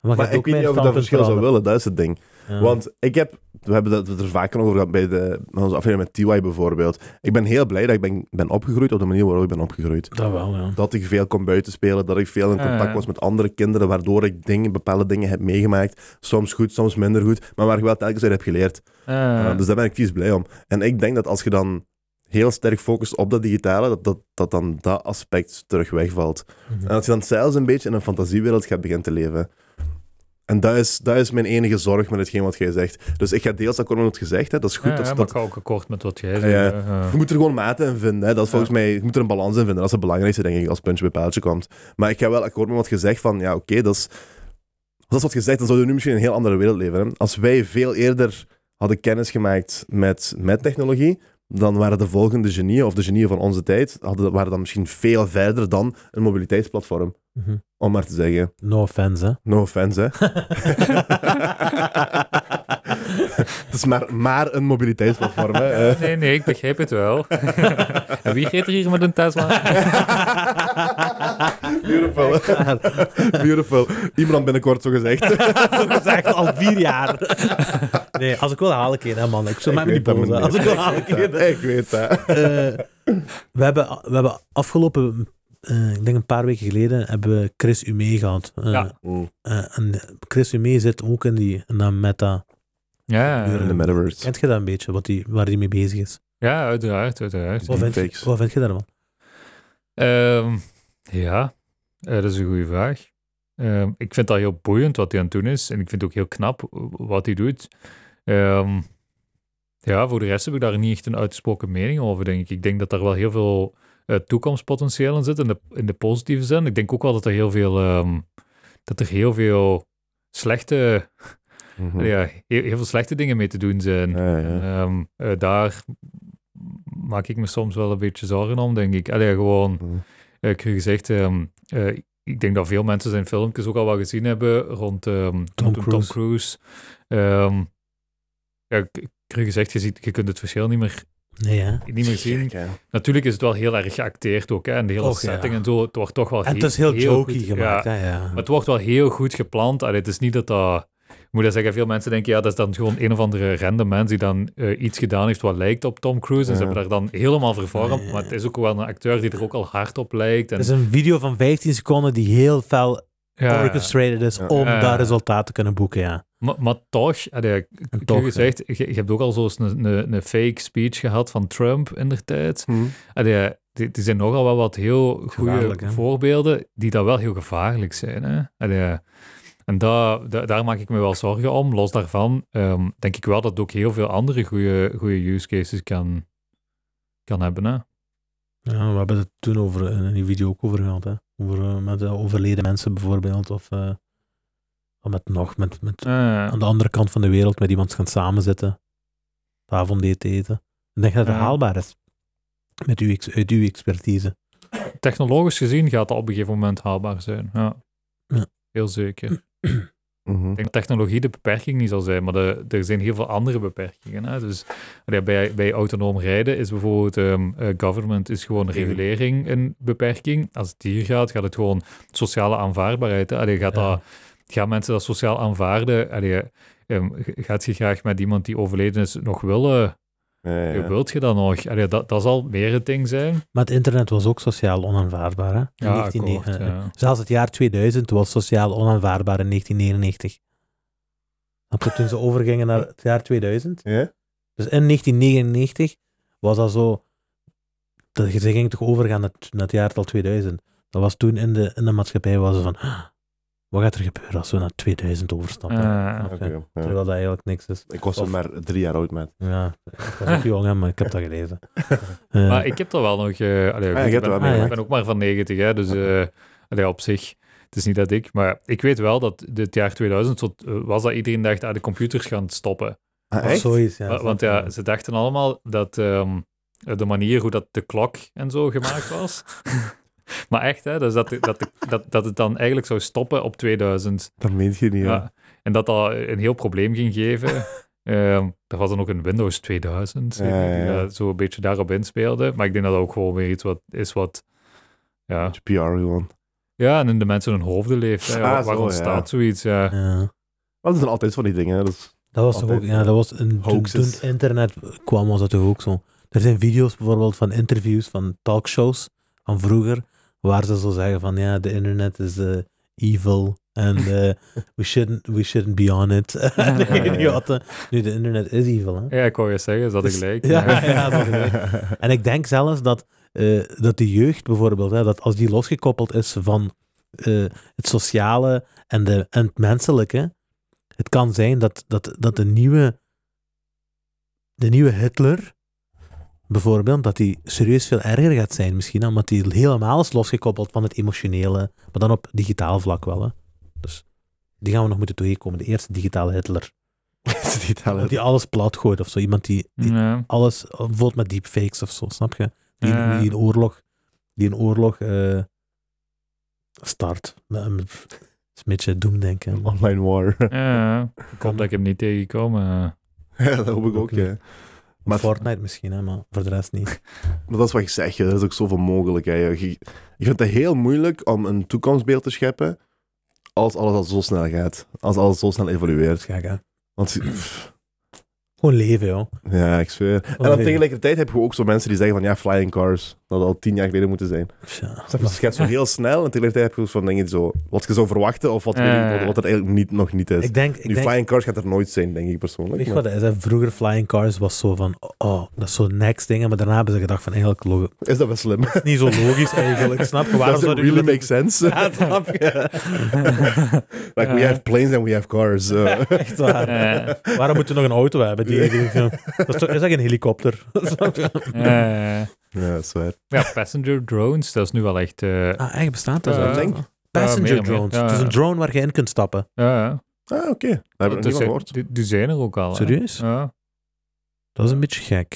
B: Maar,
A: Maar ik weet niet of ik dat verschil zou willen, dat is het ding. Want ik heb, we hebben dat- we het er vaker over gehad bij, de, bij onze aflevering met TY bijvoorbeeld. Ik ben heel blij dat ik ben, ben opgegroeid op de manier waarop ik ben opgegroeid.
B: Dat wel, ja.
A: Dat ik veel kon buitenspelen, dat ik veel in
C: Ja,
A: contact
C: Ah, ja.
A: was met andere kinderen, waardoor ik dingen, bepaalde dingen heb meegemaakt. Soms goed, soms minder goed, maar waar ik wel telkens uit heb geleerd.
C: Ah. Eh.
A: Uh, dus daar ben ik vies blij om. En ik denk dat als je dan heel sterk focust op dat digitale, dat, dat, dat dan dat aspect terug wegvalt.
B: Mhm.
A: En als je dan zelfs een beetje in een fantasiewereld gaat beginnen te leven. En dat is, dat is mijn enige zorg met hetgeen wat jij zegt. Dus ik ga deels akkoord met wat je zegt. Hè. Dat is goed.
C: Ah, ja,
A: dat,
C: ja, maar
A: dat-
C: ik ga ook akkoord met wat jij
A: Ja,
C: zegt.
A: ja.
C: hè. Ja.
A: je moet er gewoon maten in vinden. Hè. Dat is
C: Ja.
A: volgens mij, je moet er een balans in vinden. Dat is het belangrijkste, denk ik, als puntje bij paaltje komt. Maar ik ga wel akkoord met wat je zegt van, ja, oké, dat is... Als dat is wat je zegt, dan zouden we nu misschien in een heel andere wereld leven. Hè. Als wij veel eerder hadden kennis gemaakt met, met technologie, dan waren de volgende genieën, of de genieën van onze tijd, hadden, waren dan misschien veel verder dan een mobiliteitsplatform.
B: Mhm.
A: Om maar te zeggen,
B: No offense, hè.
A: no offense, hè. Het is maar, maar een mobiliteitsplatform, hè. Eh.
C: Nee, nee, ik begrijp het wel. en wie reed er hier met een Tesla?
A: Beautiful. Beautiful. Iemand binnenkort, zo gezegd.
B: Zo gezegd, al vier jaar. Nee, als ik wil, haal ik een, hè, man. Ik zou mij
A: weet
B: niet
A: dat
B: boos.
A: men
B: hè. Als ik
A: niet.
B: wil, haal ik een.
A: Ik weet dat.
B: Eh, we, hebben, we hebben afgelopen, eh, ik denk een paar weken geleden, hebben we Chris Ume gehad. Eh,
C: Ja.
B: eh, en Chris Ume zit ook in die in dat meta.
C: Ja,
A: In de metaverse.
B: Kent je dat een beetje, wat die, waar hij mee bezig is?
C: ja uiteraard, uiteraard.
B: Wat vind,
A: Deepfakes.
B: je, wat vind je daarvan?
C: Ehm, ja, eh, dat is een goede vraag. Ehm, ik vind dat heel boeiend wat hij aan het doen is. En ik vind het ook heel knap wat hij doet. Ehm, ja, voor de rest heb ik daar niet echt een uitgesproken mening over, denk ik. Ik denk dat daar wel heel veel eh, toekomstpotentieel in zit, in de, in de positieve zin. Ik denk ook wel dat er heel veel, ehm, dat er heel veel slechte,
A: Mhm.
C: ja, heel, heel veel slechte dingen mee te doen zijn.
A: Ja, ja.
C: En, ehm, eh, daar maak ik me soms wel een beetje zorgen om, denk ik. Allee, gewoon,
B: Mm.
A: Mhm.
C: eh, ik heb gezegd, ehm, eh, ik denk dat veel mensen zijn filmpjes ook al wel gezien hebben rond ehm, rondom Tom,
B: Cruise.
C: Cruise. Ehm, ja, ik, ik heb gezegd, je, ziet, je kunt het verschil niet meer,
B: Nee, hè?
C: niet meer zien.
A: Gek, hè.
C: Natuurlijk is het wel heel erg geacteerd ook, hè, en de hele
B: Och, ja.
C: setting en zo. Het wordt toch wel
B: En het
C: he-
B: is heel, jokey
C: goed-
B: gemaakt,
C: ja.
B: hè, ja.
C: Maar het wordt wel heel goed gepland. Allee, het is niet dat dat... Ik moet dat zeggen, veel mensen denken, ja, dat is dan gewoon een of andere random mens die dan eh, iets gedaan heeft wat lijkt op Tom Cruise. En ze
A: Ja.
C: hebben daar dan helemaal vervormd.
B: Ja.
C: Maar het is ook wel een acteur die er ook al hard op lijkt. En,
B: Het is een video van 15 seconden die heel fel
C: ja.
B: orchestrated is
A: Ja.
B: om
C: Ja.
B: daar resultaat te kunnen boeken, ja.
C: Maar, maar toch, allee, ik- ik heb
B: toch,
C: gezegd, je, je hebt ook al zo eens een, een, een fake speech gehad van Trump in der tijd.
A: Mhm.
C: Allee, die, die zijn nogal wel wat heel
B: Gevaarlijk,
C: goede
B: hè?
C: voorbeelden die dan wel heel gevaarlijk zijn. Hè? Allee, en da, da- daar maak ik me wel zorgen om. Los daarvan ehm, denk ik wel dat het ook heel veel andere goede, goede use cases kan, kan hebben. Hè?
B: Ja, we hebben het toen over, eh, in die video ook over gehad. Hè? Over, eh, met eh, overleden mensen bijvoorbeeld. Of eh, of met nog, met, met,
C: Eh,
B: aan de andere kant van de wereld met iemand gaan samenzitten. Avondeten eten. Ik denk dat het
C: Ja.
B: haalbaar is. Met uw, ex- uit uw expertise.
C: technologisch gezien gaat dat op een gegeven moment haalbaar zijn. Ja.
B: Ja.
C: Heel zeker.
A: Mhm.
C: Ik denk dat technologie de beperking niet zal zijn, maar de, er zijn heel veel andere beperkingen. Hè? Dus allee, bij, bij autonoom rijden is bijvoorbeeld ehm, eh, government is gewoon regulering een beperking. Als het hier gaat, gaat het gewoon sociale aanvaardbaarheid. hè. Allee, gaat
B: Ja.
C: dat, gaan mensen dat sociaal aanvaarden? Allee, ehm, g- gaat je graag met iemand die overleden is nog willen?
A: Ja, ja, ja.
C: Wilt je dat nog? Allee, dat, dat zal meer het ding zijn.
B: Maar het internet was ook sociaal onaanvaardbaar. Hè? In
C: akkoord,
B: 1999.
C: ja.
B: Zelfs het jaar 2000 was sociaal onaanvaardbaar in 1999. Snap je, toen ze overgingen naar het jaar 2000.
A: Ja?
B: Dus in 1999 was dat zo. Dat, ze ging toch overgaan naar, het- naar het jaartal 2000. Dat was toen in de, in de maatschappij was het van. "Ah, Wat gaat er gebeuren als we naar 2000 overstappen?
C: Eh,
B: Snap je?
A: Oké, ja.
B: Terwijl dat eigenlijk niks is.
A: Ik was er
B: Of-
A: maar drie jaar oud, met.
B: Ja, ik was ook jong, hè, maar ik heb dat gelezen.
C: Ah,
B: Eh,
C: Maar ik heb er wel nog... eh, allee,
A: je
C: goed,
A: hebt
C: ik,
A: er
C: ben,
A: wel
B: mee
C: ik
B: gemaakt.
C: ben ook maar van 90, hè, dus eh, allee, op zich... Het is niet dat ik... Maar ik weet wel dat dit jaar 2000 zo, eh, was dat iedereen dacht... Ah, de computers gaan stoppen.
A: Ah,
B: of
A: echt?
B: zoiets, ja.
C: Wa- Want
B: snap je?
C: ja, ze dachten allemaal dat ehm, de manier hoe dat de klok en zo gemaakt was... maar echt, hè, dus dat, de- dat, de- dat, dat het dan eigenlijk zou stoppen op 2000.
A: Dat meent je niet,
C: Ja.
A: ja.
C: En dat dat een heel probleem ging geven. Ehm er was dan ook een Windows 2000,
A: Ja,
C: ik denk,
A: ja,
C: die
A: ja.
C: dat zo een beetje daarop inspeelde. Maar ik denk dat dat ook gewoon weer iets wat is wat... Ja,
A: PR gewoon.
C: ja en in de mensen hun hoofden leeft. Hè,
A: Ah,
C: waar
A: zo, ja.
C: ontstaat zoiets? Ja.
B: Ja.
A: Maar dat zijn altijd van die dingen, hè. Dat is-
B: Dat was toch
A: Altijd,
B: ook, ja,
C: eh,
B: dat was een, toen, toen
A: hoaxes.
B: internet kwam, was dat toch ook zo. Er zijn video's bijvoorbeeld van interviews, van talkshows van vroeger, waar ze zo zeggen van, ja, de internet is eh, evil en eh, we, shouldn't, we shouldn't be on it. En die
C: Ja, ja, ja.
B: idioten. Nu, de internet is evil, hè.
C: ja, ik wou je zeggen, dat ik
B: Dus-
C: gelijk.
B: ja, ja, dat is En ik denk zelfs dat, eh, dat de jeugd bijvoorbeeld, hè, dat als die losgekoppeld is van eh, het sociale en, de, en het menselijke, het kan zijn dat, dat, dat de, nieuwe, de nieuwe Hitler, bijvoorbeeld, dat die serieus veel erger gaat zijn misschien, omdat die helemaal is losgekoppeld van het emotionele, maar dan op digitaal vlak wel. Hè. Dus die gaan we nog moeten tegenkomen. De eerste digitale Hitler. Iemand Die alles plat gooit of zo. Iemand die, die
C: Ja.
B: alles, bijvoorbeeld met deepfakes of zo, snap je? Die,
C: Ja.
B: die een oorlog, die een oorlog eh, start. Met een- Het is een beetje doemdenken.
A: Online war.
C: Ja, ik hoop dat ik hem niet tegenkomen.
A: ja, dat hoop ik ook, ja.
B: Maar
A: Maar-
B: Fortnite misschien, hè, maar voor de rest niet.
A: Maar dat is wat ik zeg, hè. er is ook zoveel mogelijk. Hè. Je- Ik vind het heel moeilijk om een toekomstbeeld te scheppen als alles al zo snel gaat. Als alles zo snel
B: Dat is
A: evolueert.
B: gek, hè.
A: Want, pff,
B: Dus Gewoon leven, joh.
A: ja, ik
B: Oh,
A: zweer. En dan tegelijkertijd heb je ook zo mensen die zeggen van, ja, flying cars, dat had al tien jaar geleden moeten zijn.
B: Tja.
A: Snap je, het gaat zo heel snel en tegelijkertijd heb je ook zo'n ding zo, wat je zou verwachten of wat,
C: Ja.
A: wat, wat er eigenlijk niet, nog niet is.
B: Ik denk, ik
A: nu,
B: denk
A: flying cars gaat er nooit zijn, denk ik persoonlijk.
B: weet je
A: maar-
B: wat het is, hè? vroeger Flying Cars was zo van, oh, dat is zo'n next ding, maar daarna hebben ze gedacht van, eigenlijk, lo-
A: Is dat wel slim?
B: dat is niet zo logisch eigenlijk, snap je? Waarom
A: Does it
B: zouden
A: really
B: jullie
A: make sense?
B: Ja, snap je?
A: like, we
C: Ja.
A: have planes and we have cars. eh.
B: Echt waar.
C: Ja.
B: Waarom moeten we nog een auto hebben? Die, die- die- dat is, toch, is dat geen helikopter? Snap je?
C: eh. Eh,
A: ja, dat is waar.
C: ja, passenger drones, dat is nu wel echt... eh,
B: ah, echt bestaat dat Eh,
C: Ja,
B: zo?
A: ik denk-
B: Passenger
C: Ja, meer en meer.
B: drones.
C: Ja,
B: het is
C: ja.
B: een drone waar je in kunt stappen.
C: ja, ja.
A: Ah, oké. Daar heb ik nog
C: Dus
A: niet van
C: zijn-
A: gehoord.
C: die, die zijn er ook al. hè.
B: Serieus?
C: Ja.
B: Dat is een beetje gek.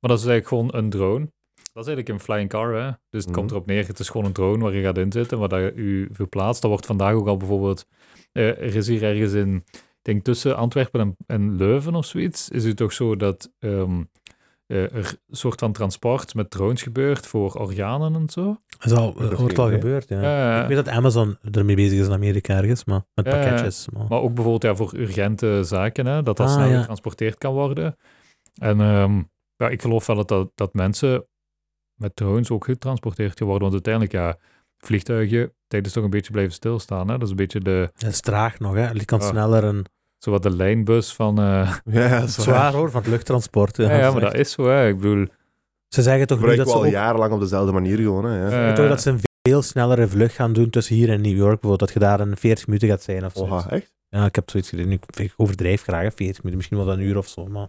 C: Maar dat is eigenlijk gewoon een drone. Dat is eigenlijk een flying car, hè? Dus het
A: Mhm.
C: komt erop neer, het is gewoon een drone waar je gaat inzitten, waar dat u verplaatst. Dat wordt vandaag ook al bijvoorbeeld... eh, er is hier ergens in, ik denk tussen Antwerpen en, en Leuven of zoiets, is het toch zo dat ehm, eh, er een soort van transport met drones gebeurt voor organen en zo? Eh,
B: Dat is al, eh,
A: Dat is
B: wordt al
A: gek, hè?
B: gebeurd, ja.
C: Ja, ja.
B: Ik weet dat Amazon ermee bezig is in Amerika ergens, maar met
C: Ja, ja.
B: pakketjes. Maar...
C: Maar ook bijvoorbeeld ja, voor urgente zaken, hè, dat dat
B: Ah,
C: snel
B: ja.
C: getransporteerd kan worden. En ehm, ja, ik geloof wel dat, dat, dat mensen met drones ook getransporteerd worden. Want uiteindelijk, ja, vliegtuigen tijdens toch een beetje blijven stilstaan. Hè? Dat is een beetje de,
B: Het is traag nog, hè. Je kan
C: Ja.
B: sneller een...
C: zowat de lijnbus van... eh,
A: Ja, ja, dat is waar.
B: Zwaar hoor, van het luchttransport.
C: ja,
B: Ja,
C: ja, maar dat is zo, hè. Ik bedoel...
B: Ze zeggen toch nu
A: Gebruiken
B: dat
A: we
B: ze,
A: al
B: ook,
A: jarenlang op dezelfde manier gewoon. Hè, ja.
C: eh,
B: toch dat ze een veel snellere vlucht gaan doen tussen hier en New York. Bijvoorbeeld dat je daar een 40 minuten gaat zijn of zo.
A: Oha, echt?
B: Ja, ik heb zoiets gedaan. Ik ik overdrijf graag, hè, 40 minuten. Misschien wel een uur of zo, maar...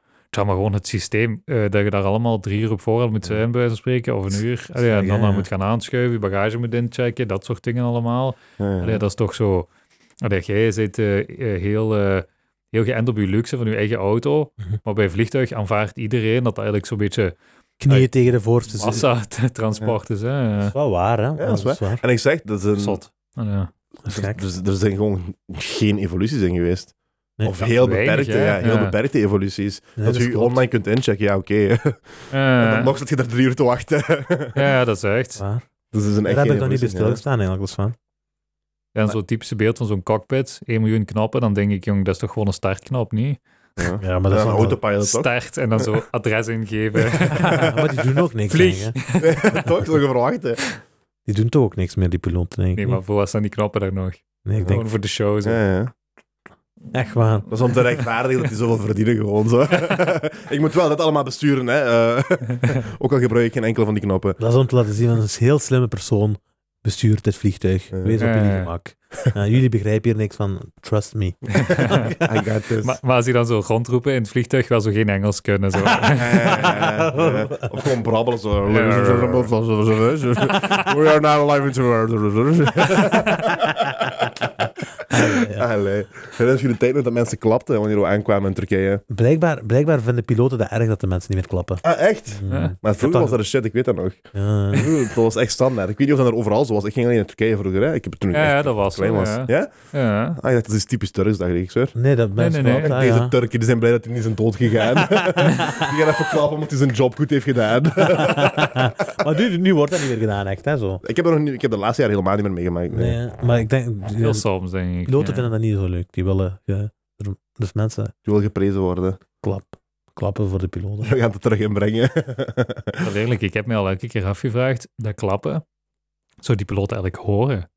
C: het zou maar gewoon het systeem, eh, dat je daar allemaal drie uur op voorhand moet zijn, bij wijze van spreken, of een uur. Allee, ja, en dan
B: Ja.
C: eh, moet gaan aanschuiven, je bagage moet inchecken, dat soort dingen allemaal.
A: Ja, ja.
C: Allee, dat is toch zo. Allee, jij zit eh, eh, heel, eh, heel geënt op je luxe van je eigen auto.
B: Mhm.
C: Maar bij vliegtuig aanvaardt iedereen dat dat eigenlijk zo'n beetje
B: Knieën
C: Hey.
B: tegen de voorste zin. Dat
C: massa-transport is. Hè?
B: is wel waar, hè.
A: dat is En ik zeg, dat is een,
C: Zot. Ja.
B: Dat is
A: er-
B: gek.
A: er- er zijn gewoon geen evoluties in geweest.
B: Nee.
A: of
C: Ja,
A: heel
C: weinig,
A: beperkte,
C: hè?
A: ja, heel
C: Ja.
A: beperkte evoluties.
B: Nee,
A: dat
B: is
A: je
B: klopt.
A: online kunt inchecken, ja, oké. En dan
C: Eh,
A: nog zit je daar drie uur te wachten.
C: ja, dat is echt.
B: Waar.
A: Dus dat is een
B: Daar
A: echt
B: heb
A: geen
B: ik nog niet bij
A: evolutie, ja.
B: stilgestaan, eigenlijk. Dat is waar.
C: En zo'n typische beeld van zo'n cockpit, 1 miljoen knappen, dan denk ik, jong, dat is toch gewoon een startknop, niet?
A: Ja.
B: Ja, maar
A: En
B: dat is
A: een
B: wel-
A: autopilot toch?
C: Start en dan zo adres ingeven.
B: maar die doen ook niks,
C: Vlieg.
B: denk ik, hè.
A: toch, zo verwacht, hè.
B: Die doen toch ook niks meer, die piloten, denk ik.
C: Nee, maar voor wat staan die knappen daar nog?
B: Nee, ik denk,
C: Gewoon voor de show. Zo.
A: Ja, ja.
B: echt waar.
A: Dat is om te rechtvaardigen dat die zoveel verdienen gewoon zo. ik moet wel dat allemaal besturen, hè. eh. ook al gebruik ik geen enkele van die knoppen.
B: Dat is om te laten zien, dat een heel slimme persoon bestuurt dit vliegtuig.
A: Ja.
B: Wees op jullie
C: Ja.
B: gemak. Ja, jullie begrijpen hier niks van. Trust me.
A: I got this.
C: Maar, maar als die dan zo rondroepen in het vliegtuig, wel zo geen Engels kunnen. Zo.
A: Eh, eh, Of gewoon brabbelen zo. We are now live in Allee. Herinner je de tijd nog dat mensen klapten wanneer we aankwamen in Turkije?
B: Blijkbaar, blijkbaar vinden piloten dat erg dat de mensen niet meer klappen.
A: Ah, echt?
B: Ja.
A: Maar
B: heb
A: vroeger
B: dat-
A: was dat een shit, ik weet dat nog.
B: Ja.
A: Vroeger, Dat was echt standaard. Ik weet niet of dat er overal zo was. Ik ging alleen naar Turkije vroeger, hè. Ik heb het toen ik
C: Ja,
A: echt
C: ja, dat was
A: klein
C: zo,
A: was.
C: ja.
A: Ja?
C: Ja.
A: Ah, ik dacht, dat is typisch Turks, dacht ik, ik zweer.
B: Nee, dat mensen
C: nee, nee.
B: klappen,
A: Deze
B: ja.
A: Turken die zijn blij dat hij niet zijn dood gegaan. die gaan even klappen omdat hij zijn job goed heeft gedaan.
B: maar nu, nu wordt dat niet meer gedaan, echt, hè, zo.
A: ik, heb er nog niet, ik heb de laatste jaar helemaal niet meer meegemaakt. nee.
B: Nee, hè. maar ik denk,
C: Heel soms, denk ik.
B: piloten
C: ja.
B: vinden dat niet zo leuk. Die willen, ja, er- dus mensen
A: Je wil geprezen worden.
B: klap, klappen voor de piloten.
A: We gaan het terug inbrengen.
C: Wel eerlijk, ik heb me al elke keer afgevraagd, dat klappen, zou die piloot eigenlijk horen?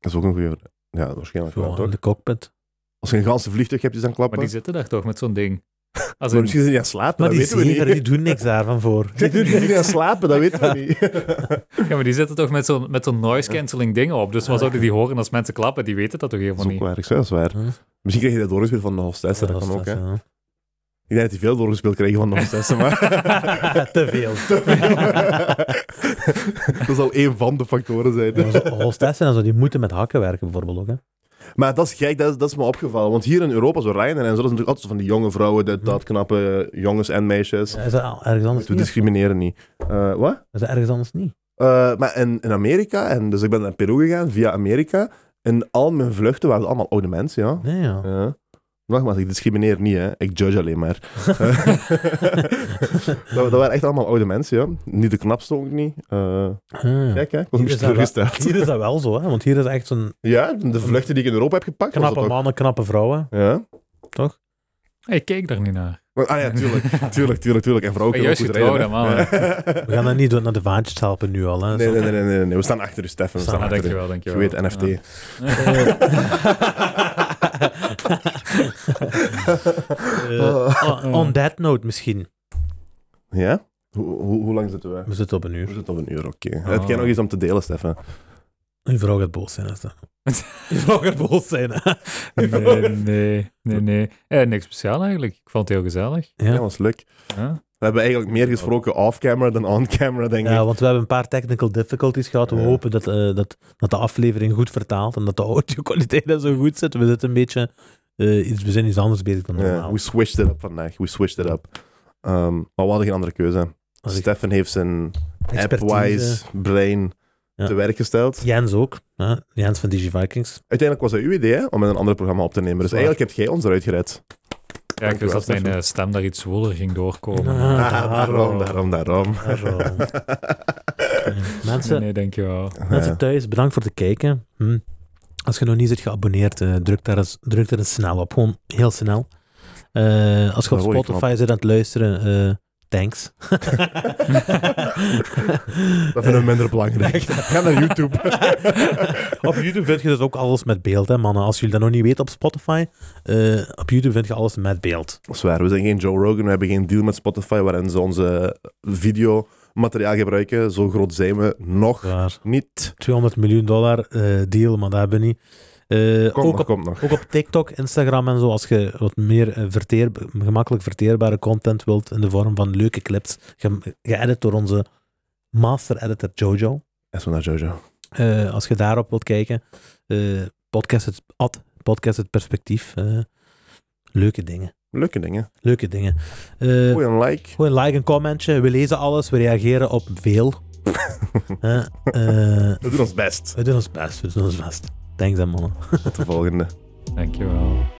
A: dat is ook een goede. Ja, waarschijnlijk
B: Zo,
A: wel,
B: in
A: toch?
B: de cockpit.
A: Als je een ganse vliegtuig hebt, die dan
C: Maar
A: klappen.
C: die zitten daar toch met zo'n ding. Als
A: Maar
C: in-
A: misschien zijn die aan het slapen,
B: Maar
A: dat
B: die
A: weten we
B: zeven,
A: niet.
B: die doen niks daarvan voor.
A: Die doen niet aan slapen, dat weten we niet.
C: ja, maar die zitten toch met zo'n met zo'n noise cancelling dingen op. Dus wat zouden die horen als mensen klappen? Die weten dat toch
A: Dat
C: helemaal
A: is ook
C: niet.
A: waar, ik zeg, dat is waar.
B: Huh?
A: Misschien krijg je dat doorgespeeld van de hostess, dat kan ook, hè. Ik denk dat die veel doorgespeeld krijgen van de hostess, maar...
B: Te veel.
A: Te veel. dat zal één van de factoren zijn.
B: Ja, maar zo- Hostessen en zo, die moeten met hakken werken bijvoorbeeld ook. Hè?
A: Maar dat is gek, dat is, dat is me opgevallen. Want hier in Europa, zo Ryan en zo, dat is natuurlijk altijd zo van die jonge vrouwen, dat, dat knappe jongens en meisjes.
B: Is dat al- ergens anders
A: We
B: niet?
A: discrimineren niet. Eh, wat?
B: Is dat ergens anders niet?
A: Eh, maar in, in Amerika, en dus ik ben naar Peru gegaan via Amerika. En al mijn vluchten waren allemaal oude mensen, ja.
B: Nee, ja.
A: Ja. Nogmaals, ik discrimineer niet, hè. Ik judge alleen maar. dat, dat waren echt allemaal oude mensen, ja. Niet de knapste ook niet. Eh,
B: Ah, ja.
A: kijk, hè. Ik was een beetje
B: Hier is dat wel-
A: teleurgesteld.
B: Hier is dat wel zo, hè? want hier is echt zo'n
A: Ja, de vluchten die ik in Europa heb gepakt, was
B: knappe
A: dat ook.
B: mannen, knappe vrouwen.
A: Ja.
C: Ik keek daar niet naar.
A: Maar- ah ja, tuurlijk. tuurlijk, tuurlijk, tuurlijk. En vrouwen
C: Ik ben
A: kunnen ook
C: juist
A: goed
C: getrouwd,
A: rijden, hè.
B: We gaan dat niet doen naar de vaantjes helpen nu al. Hè?
A: Nee,
B: Zo.
A: nee, nee, nee, nee, nee. We staan achter u, Stefan. We
B: Staan
A: staan
C: Ah,
A: achter u.
C: dankjewel, dankjewel.
A: Je weet, NFT.
C: Ja.
A: Oh.
B: Eh, on- on that note misschien.
A: Ja? Hoe, hoe, hoe lang zitten we?
B: We zitten op een
A: We
B: uur.
A: zitten op een uur, oké.
C: Ah.
A: Heb jij nog iets om te delen, Stefan?
B: Uw vrouw gaat boos zijn. hè, Stef. Uw vrouw gaat boos zijn. hè. Uw vrouw
C: Nee, nee, nee. nee. Eh, niks speciaal eigenlijk. Ik vond het heel gezellig.
A: Ja,
B: Ja.
A: was leuk.
C: Ja.
A: We hebben eigenlijk meer gesproken off-camera dan on-camera, denk ik.
B: ja, want we hebben een paar technical difficulties gehad. We
A: Ja.
B: hopen dat, eh, dat, dat de aflevering goed vertaalt en dat de audio-kwaliteit daar zo goed zit. We zitten een beetje... eh, iets, we zijn iets anders bezig dan normaal.
A: Ja, we switched it up vandaag. We switched it up. Ehm, maar we hadden geen andere keuze.
B: Als ik-
A: Stefan heeft zijn
B: expertise-
A: app-wise brain
B: Ja.
A: te werk gesteld.
B: Jens ook. Hè? Jens van DigiVikings.
A: Uiteindelijk was dat uw idee hè, om met een ander programma op te nemen. Dus
B: Waar.
A: eigenlijk heb jij ons eruit gered.
C: Ja, ik wist dat mijn eh, stem daar iets zwoeler ging doorkomen.
B: Ah,
A: Ah, daarom, daarom, daarom.
B: Daarom. Mensen,
A: Eh.
C: Nee, nee, dankjewel.
B: Mensen thuis, bedankt voor het kijken. Hm. Als je nog niet zit geabonneerd, eh, druk, daar eens, druk daar eens snel op. Gewoon heel snel. Eh, als je op
A: Een rode
B: Spotify zit aan het luisteren, eh, thanks.
A: Dat vinden we minder belangrijk. Ga naar YouTube.
B: op YouTube vind je dus ook alles met beeld, hè mannen. Als jullie dat nog niet weten op Spotify, eh, op YouTube vind je alles met beeld.
A: Dat is waar, we zijn geen Joe Rogan, we hebben geen deal met Spotify waarin ze onze videomateriaal gebruiken. Zo groot zijn we nog
B: Waar.
A: niet.
B: 200 miljoen dollar eh, deal, maar dat hebben we niet. Eh,
A: Kom
B: ook
A: nog,
B: op
A: komt nog.
B: Ook op TikTok, Instagram en zo, als je wat meer eh, verteer, gemakkelijk verteerbare content wilt in de vorm van leuke clips, ge- geëdit door onze master-editor Jojo.
A: En zo naar Jojo.
B: Eh, als je daarop wilt kijken, eh, podcast, het, at, podcast het perspectief. eh, leuke dingen.
A: Leuke dingen.
B: Leuke dingen. Eh,
A: Gooi een like.
B: gewoon een like, een commentje. We lezen alles, we reageren op veel. Eh, eh,
A: We doen ons best.
B: we doen ons best, we doen ons best. Thanks, hè, mannen.
A: Tot de volgende.
C: Dankjewel.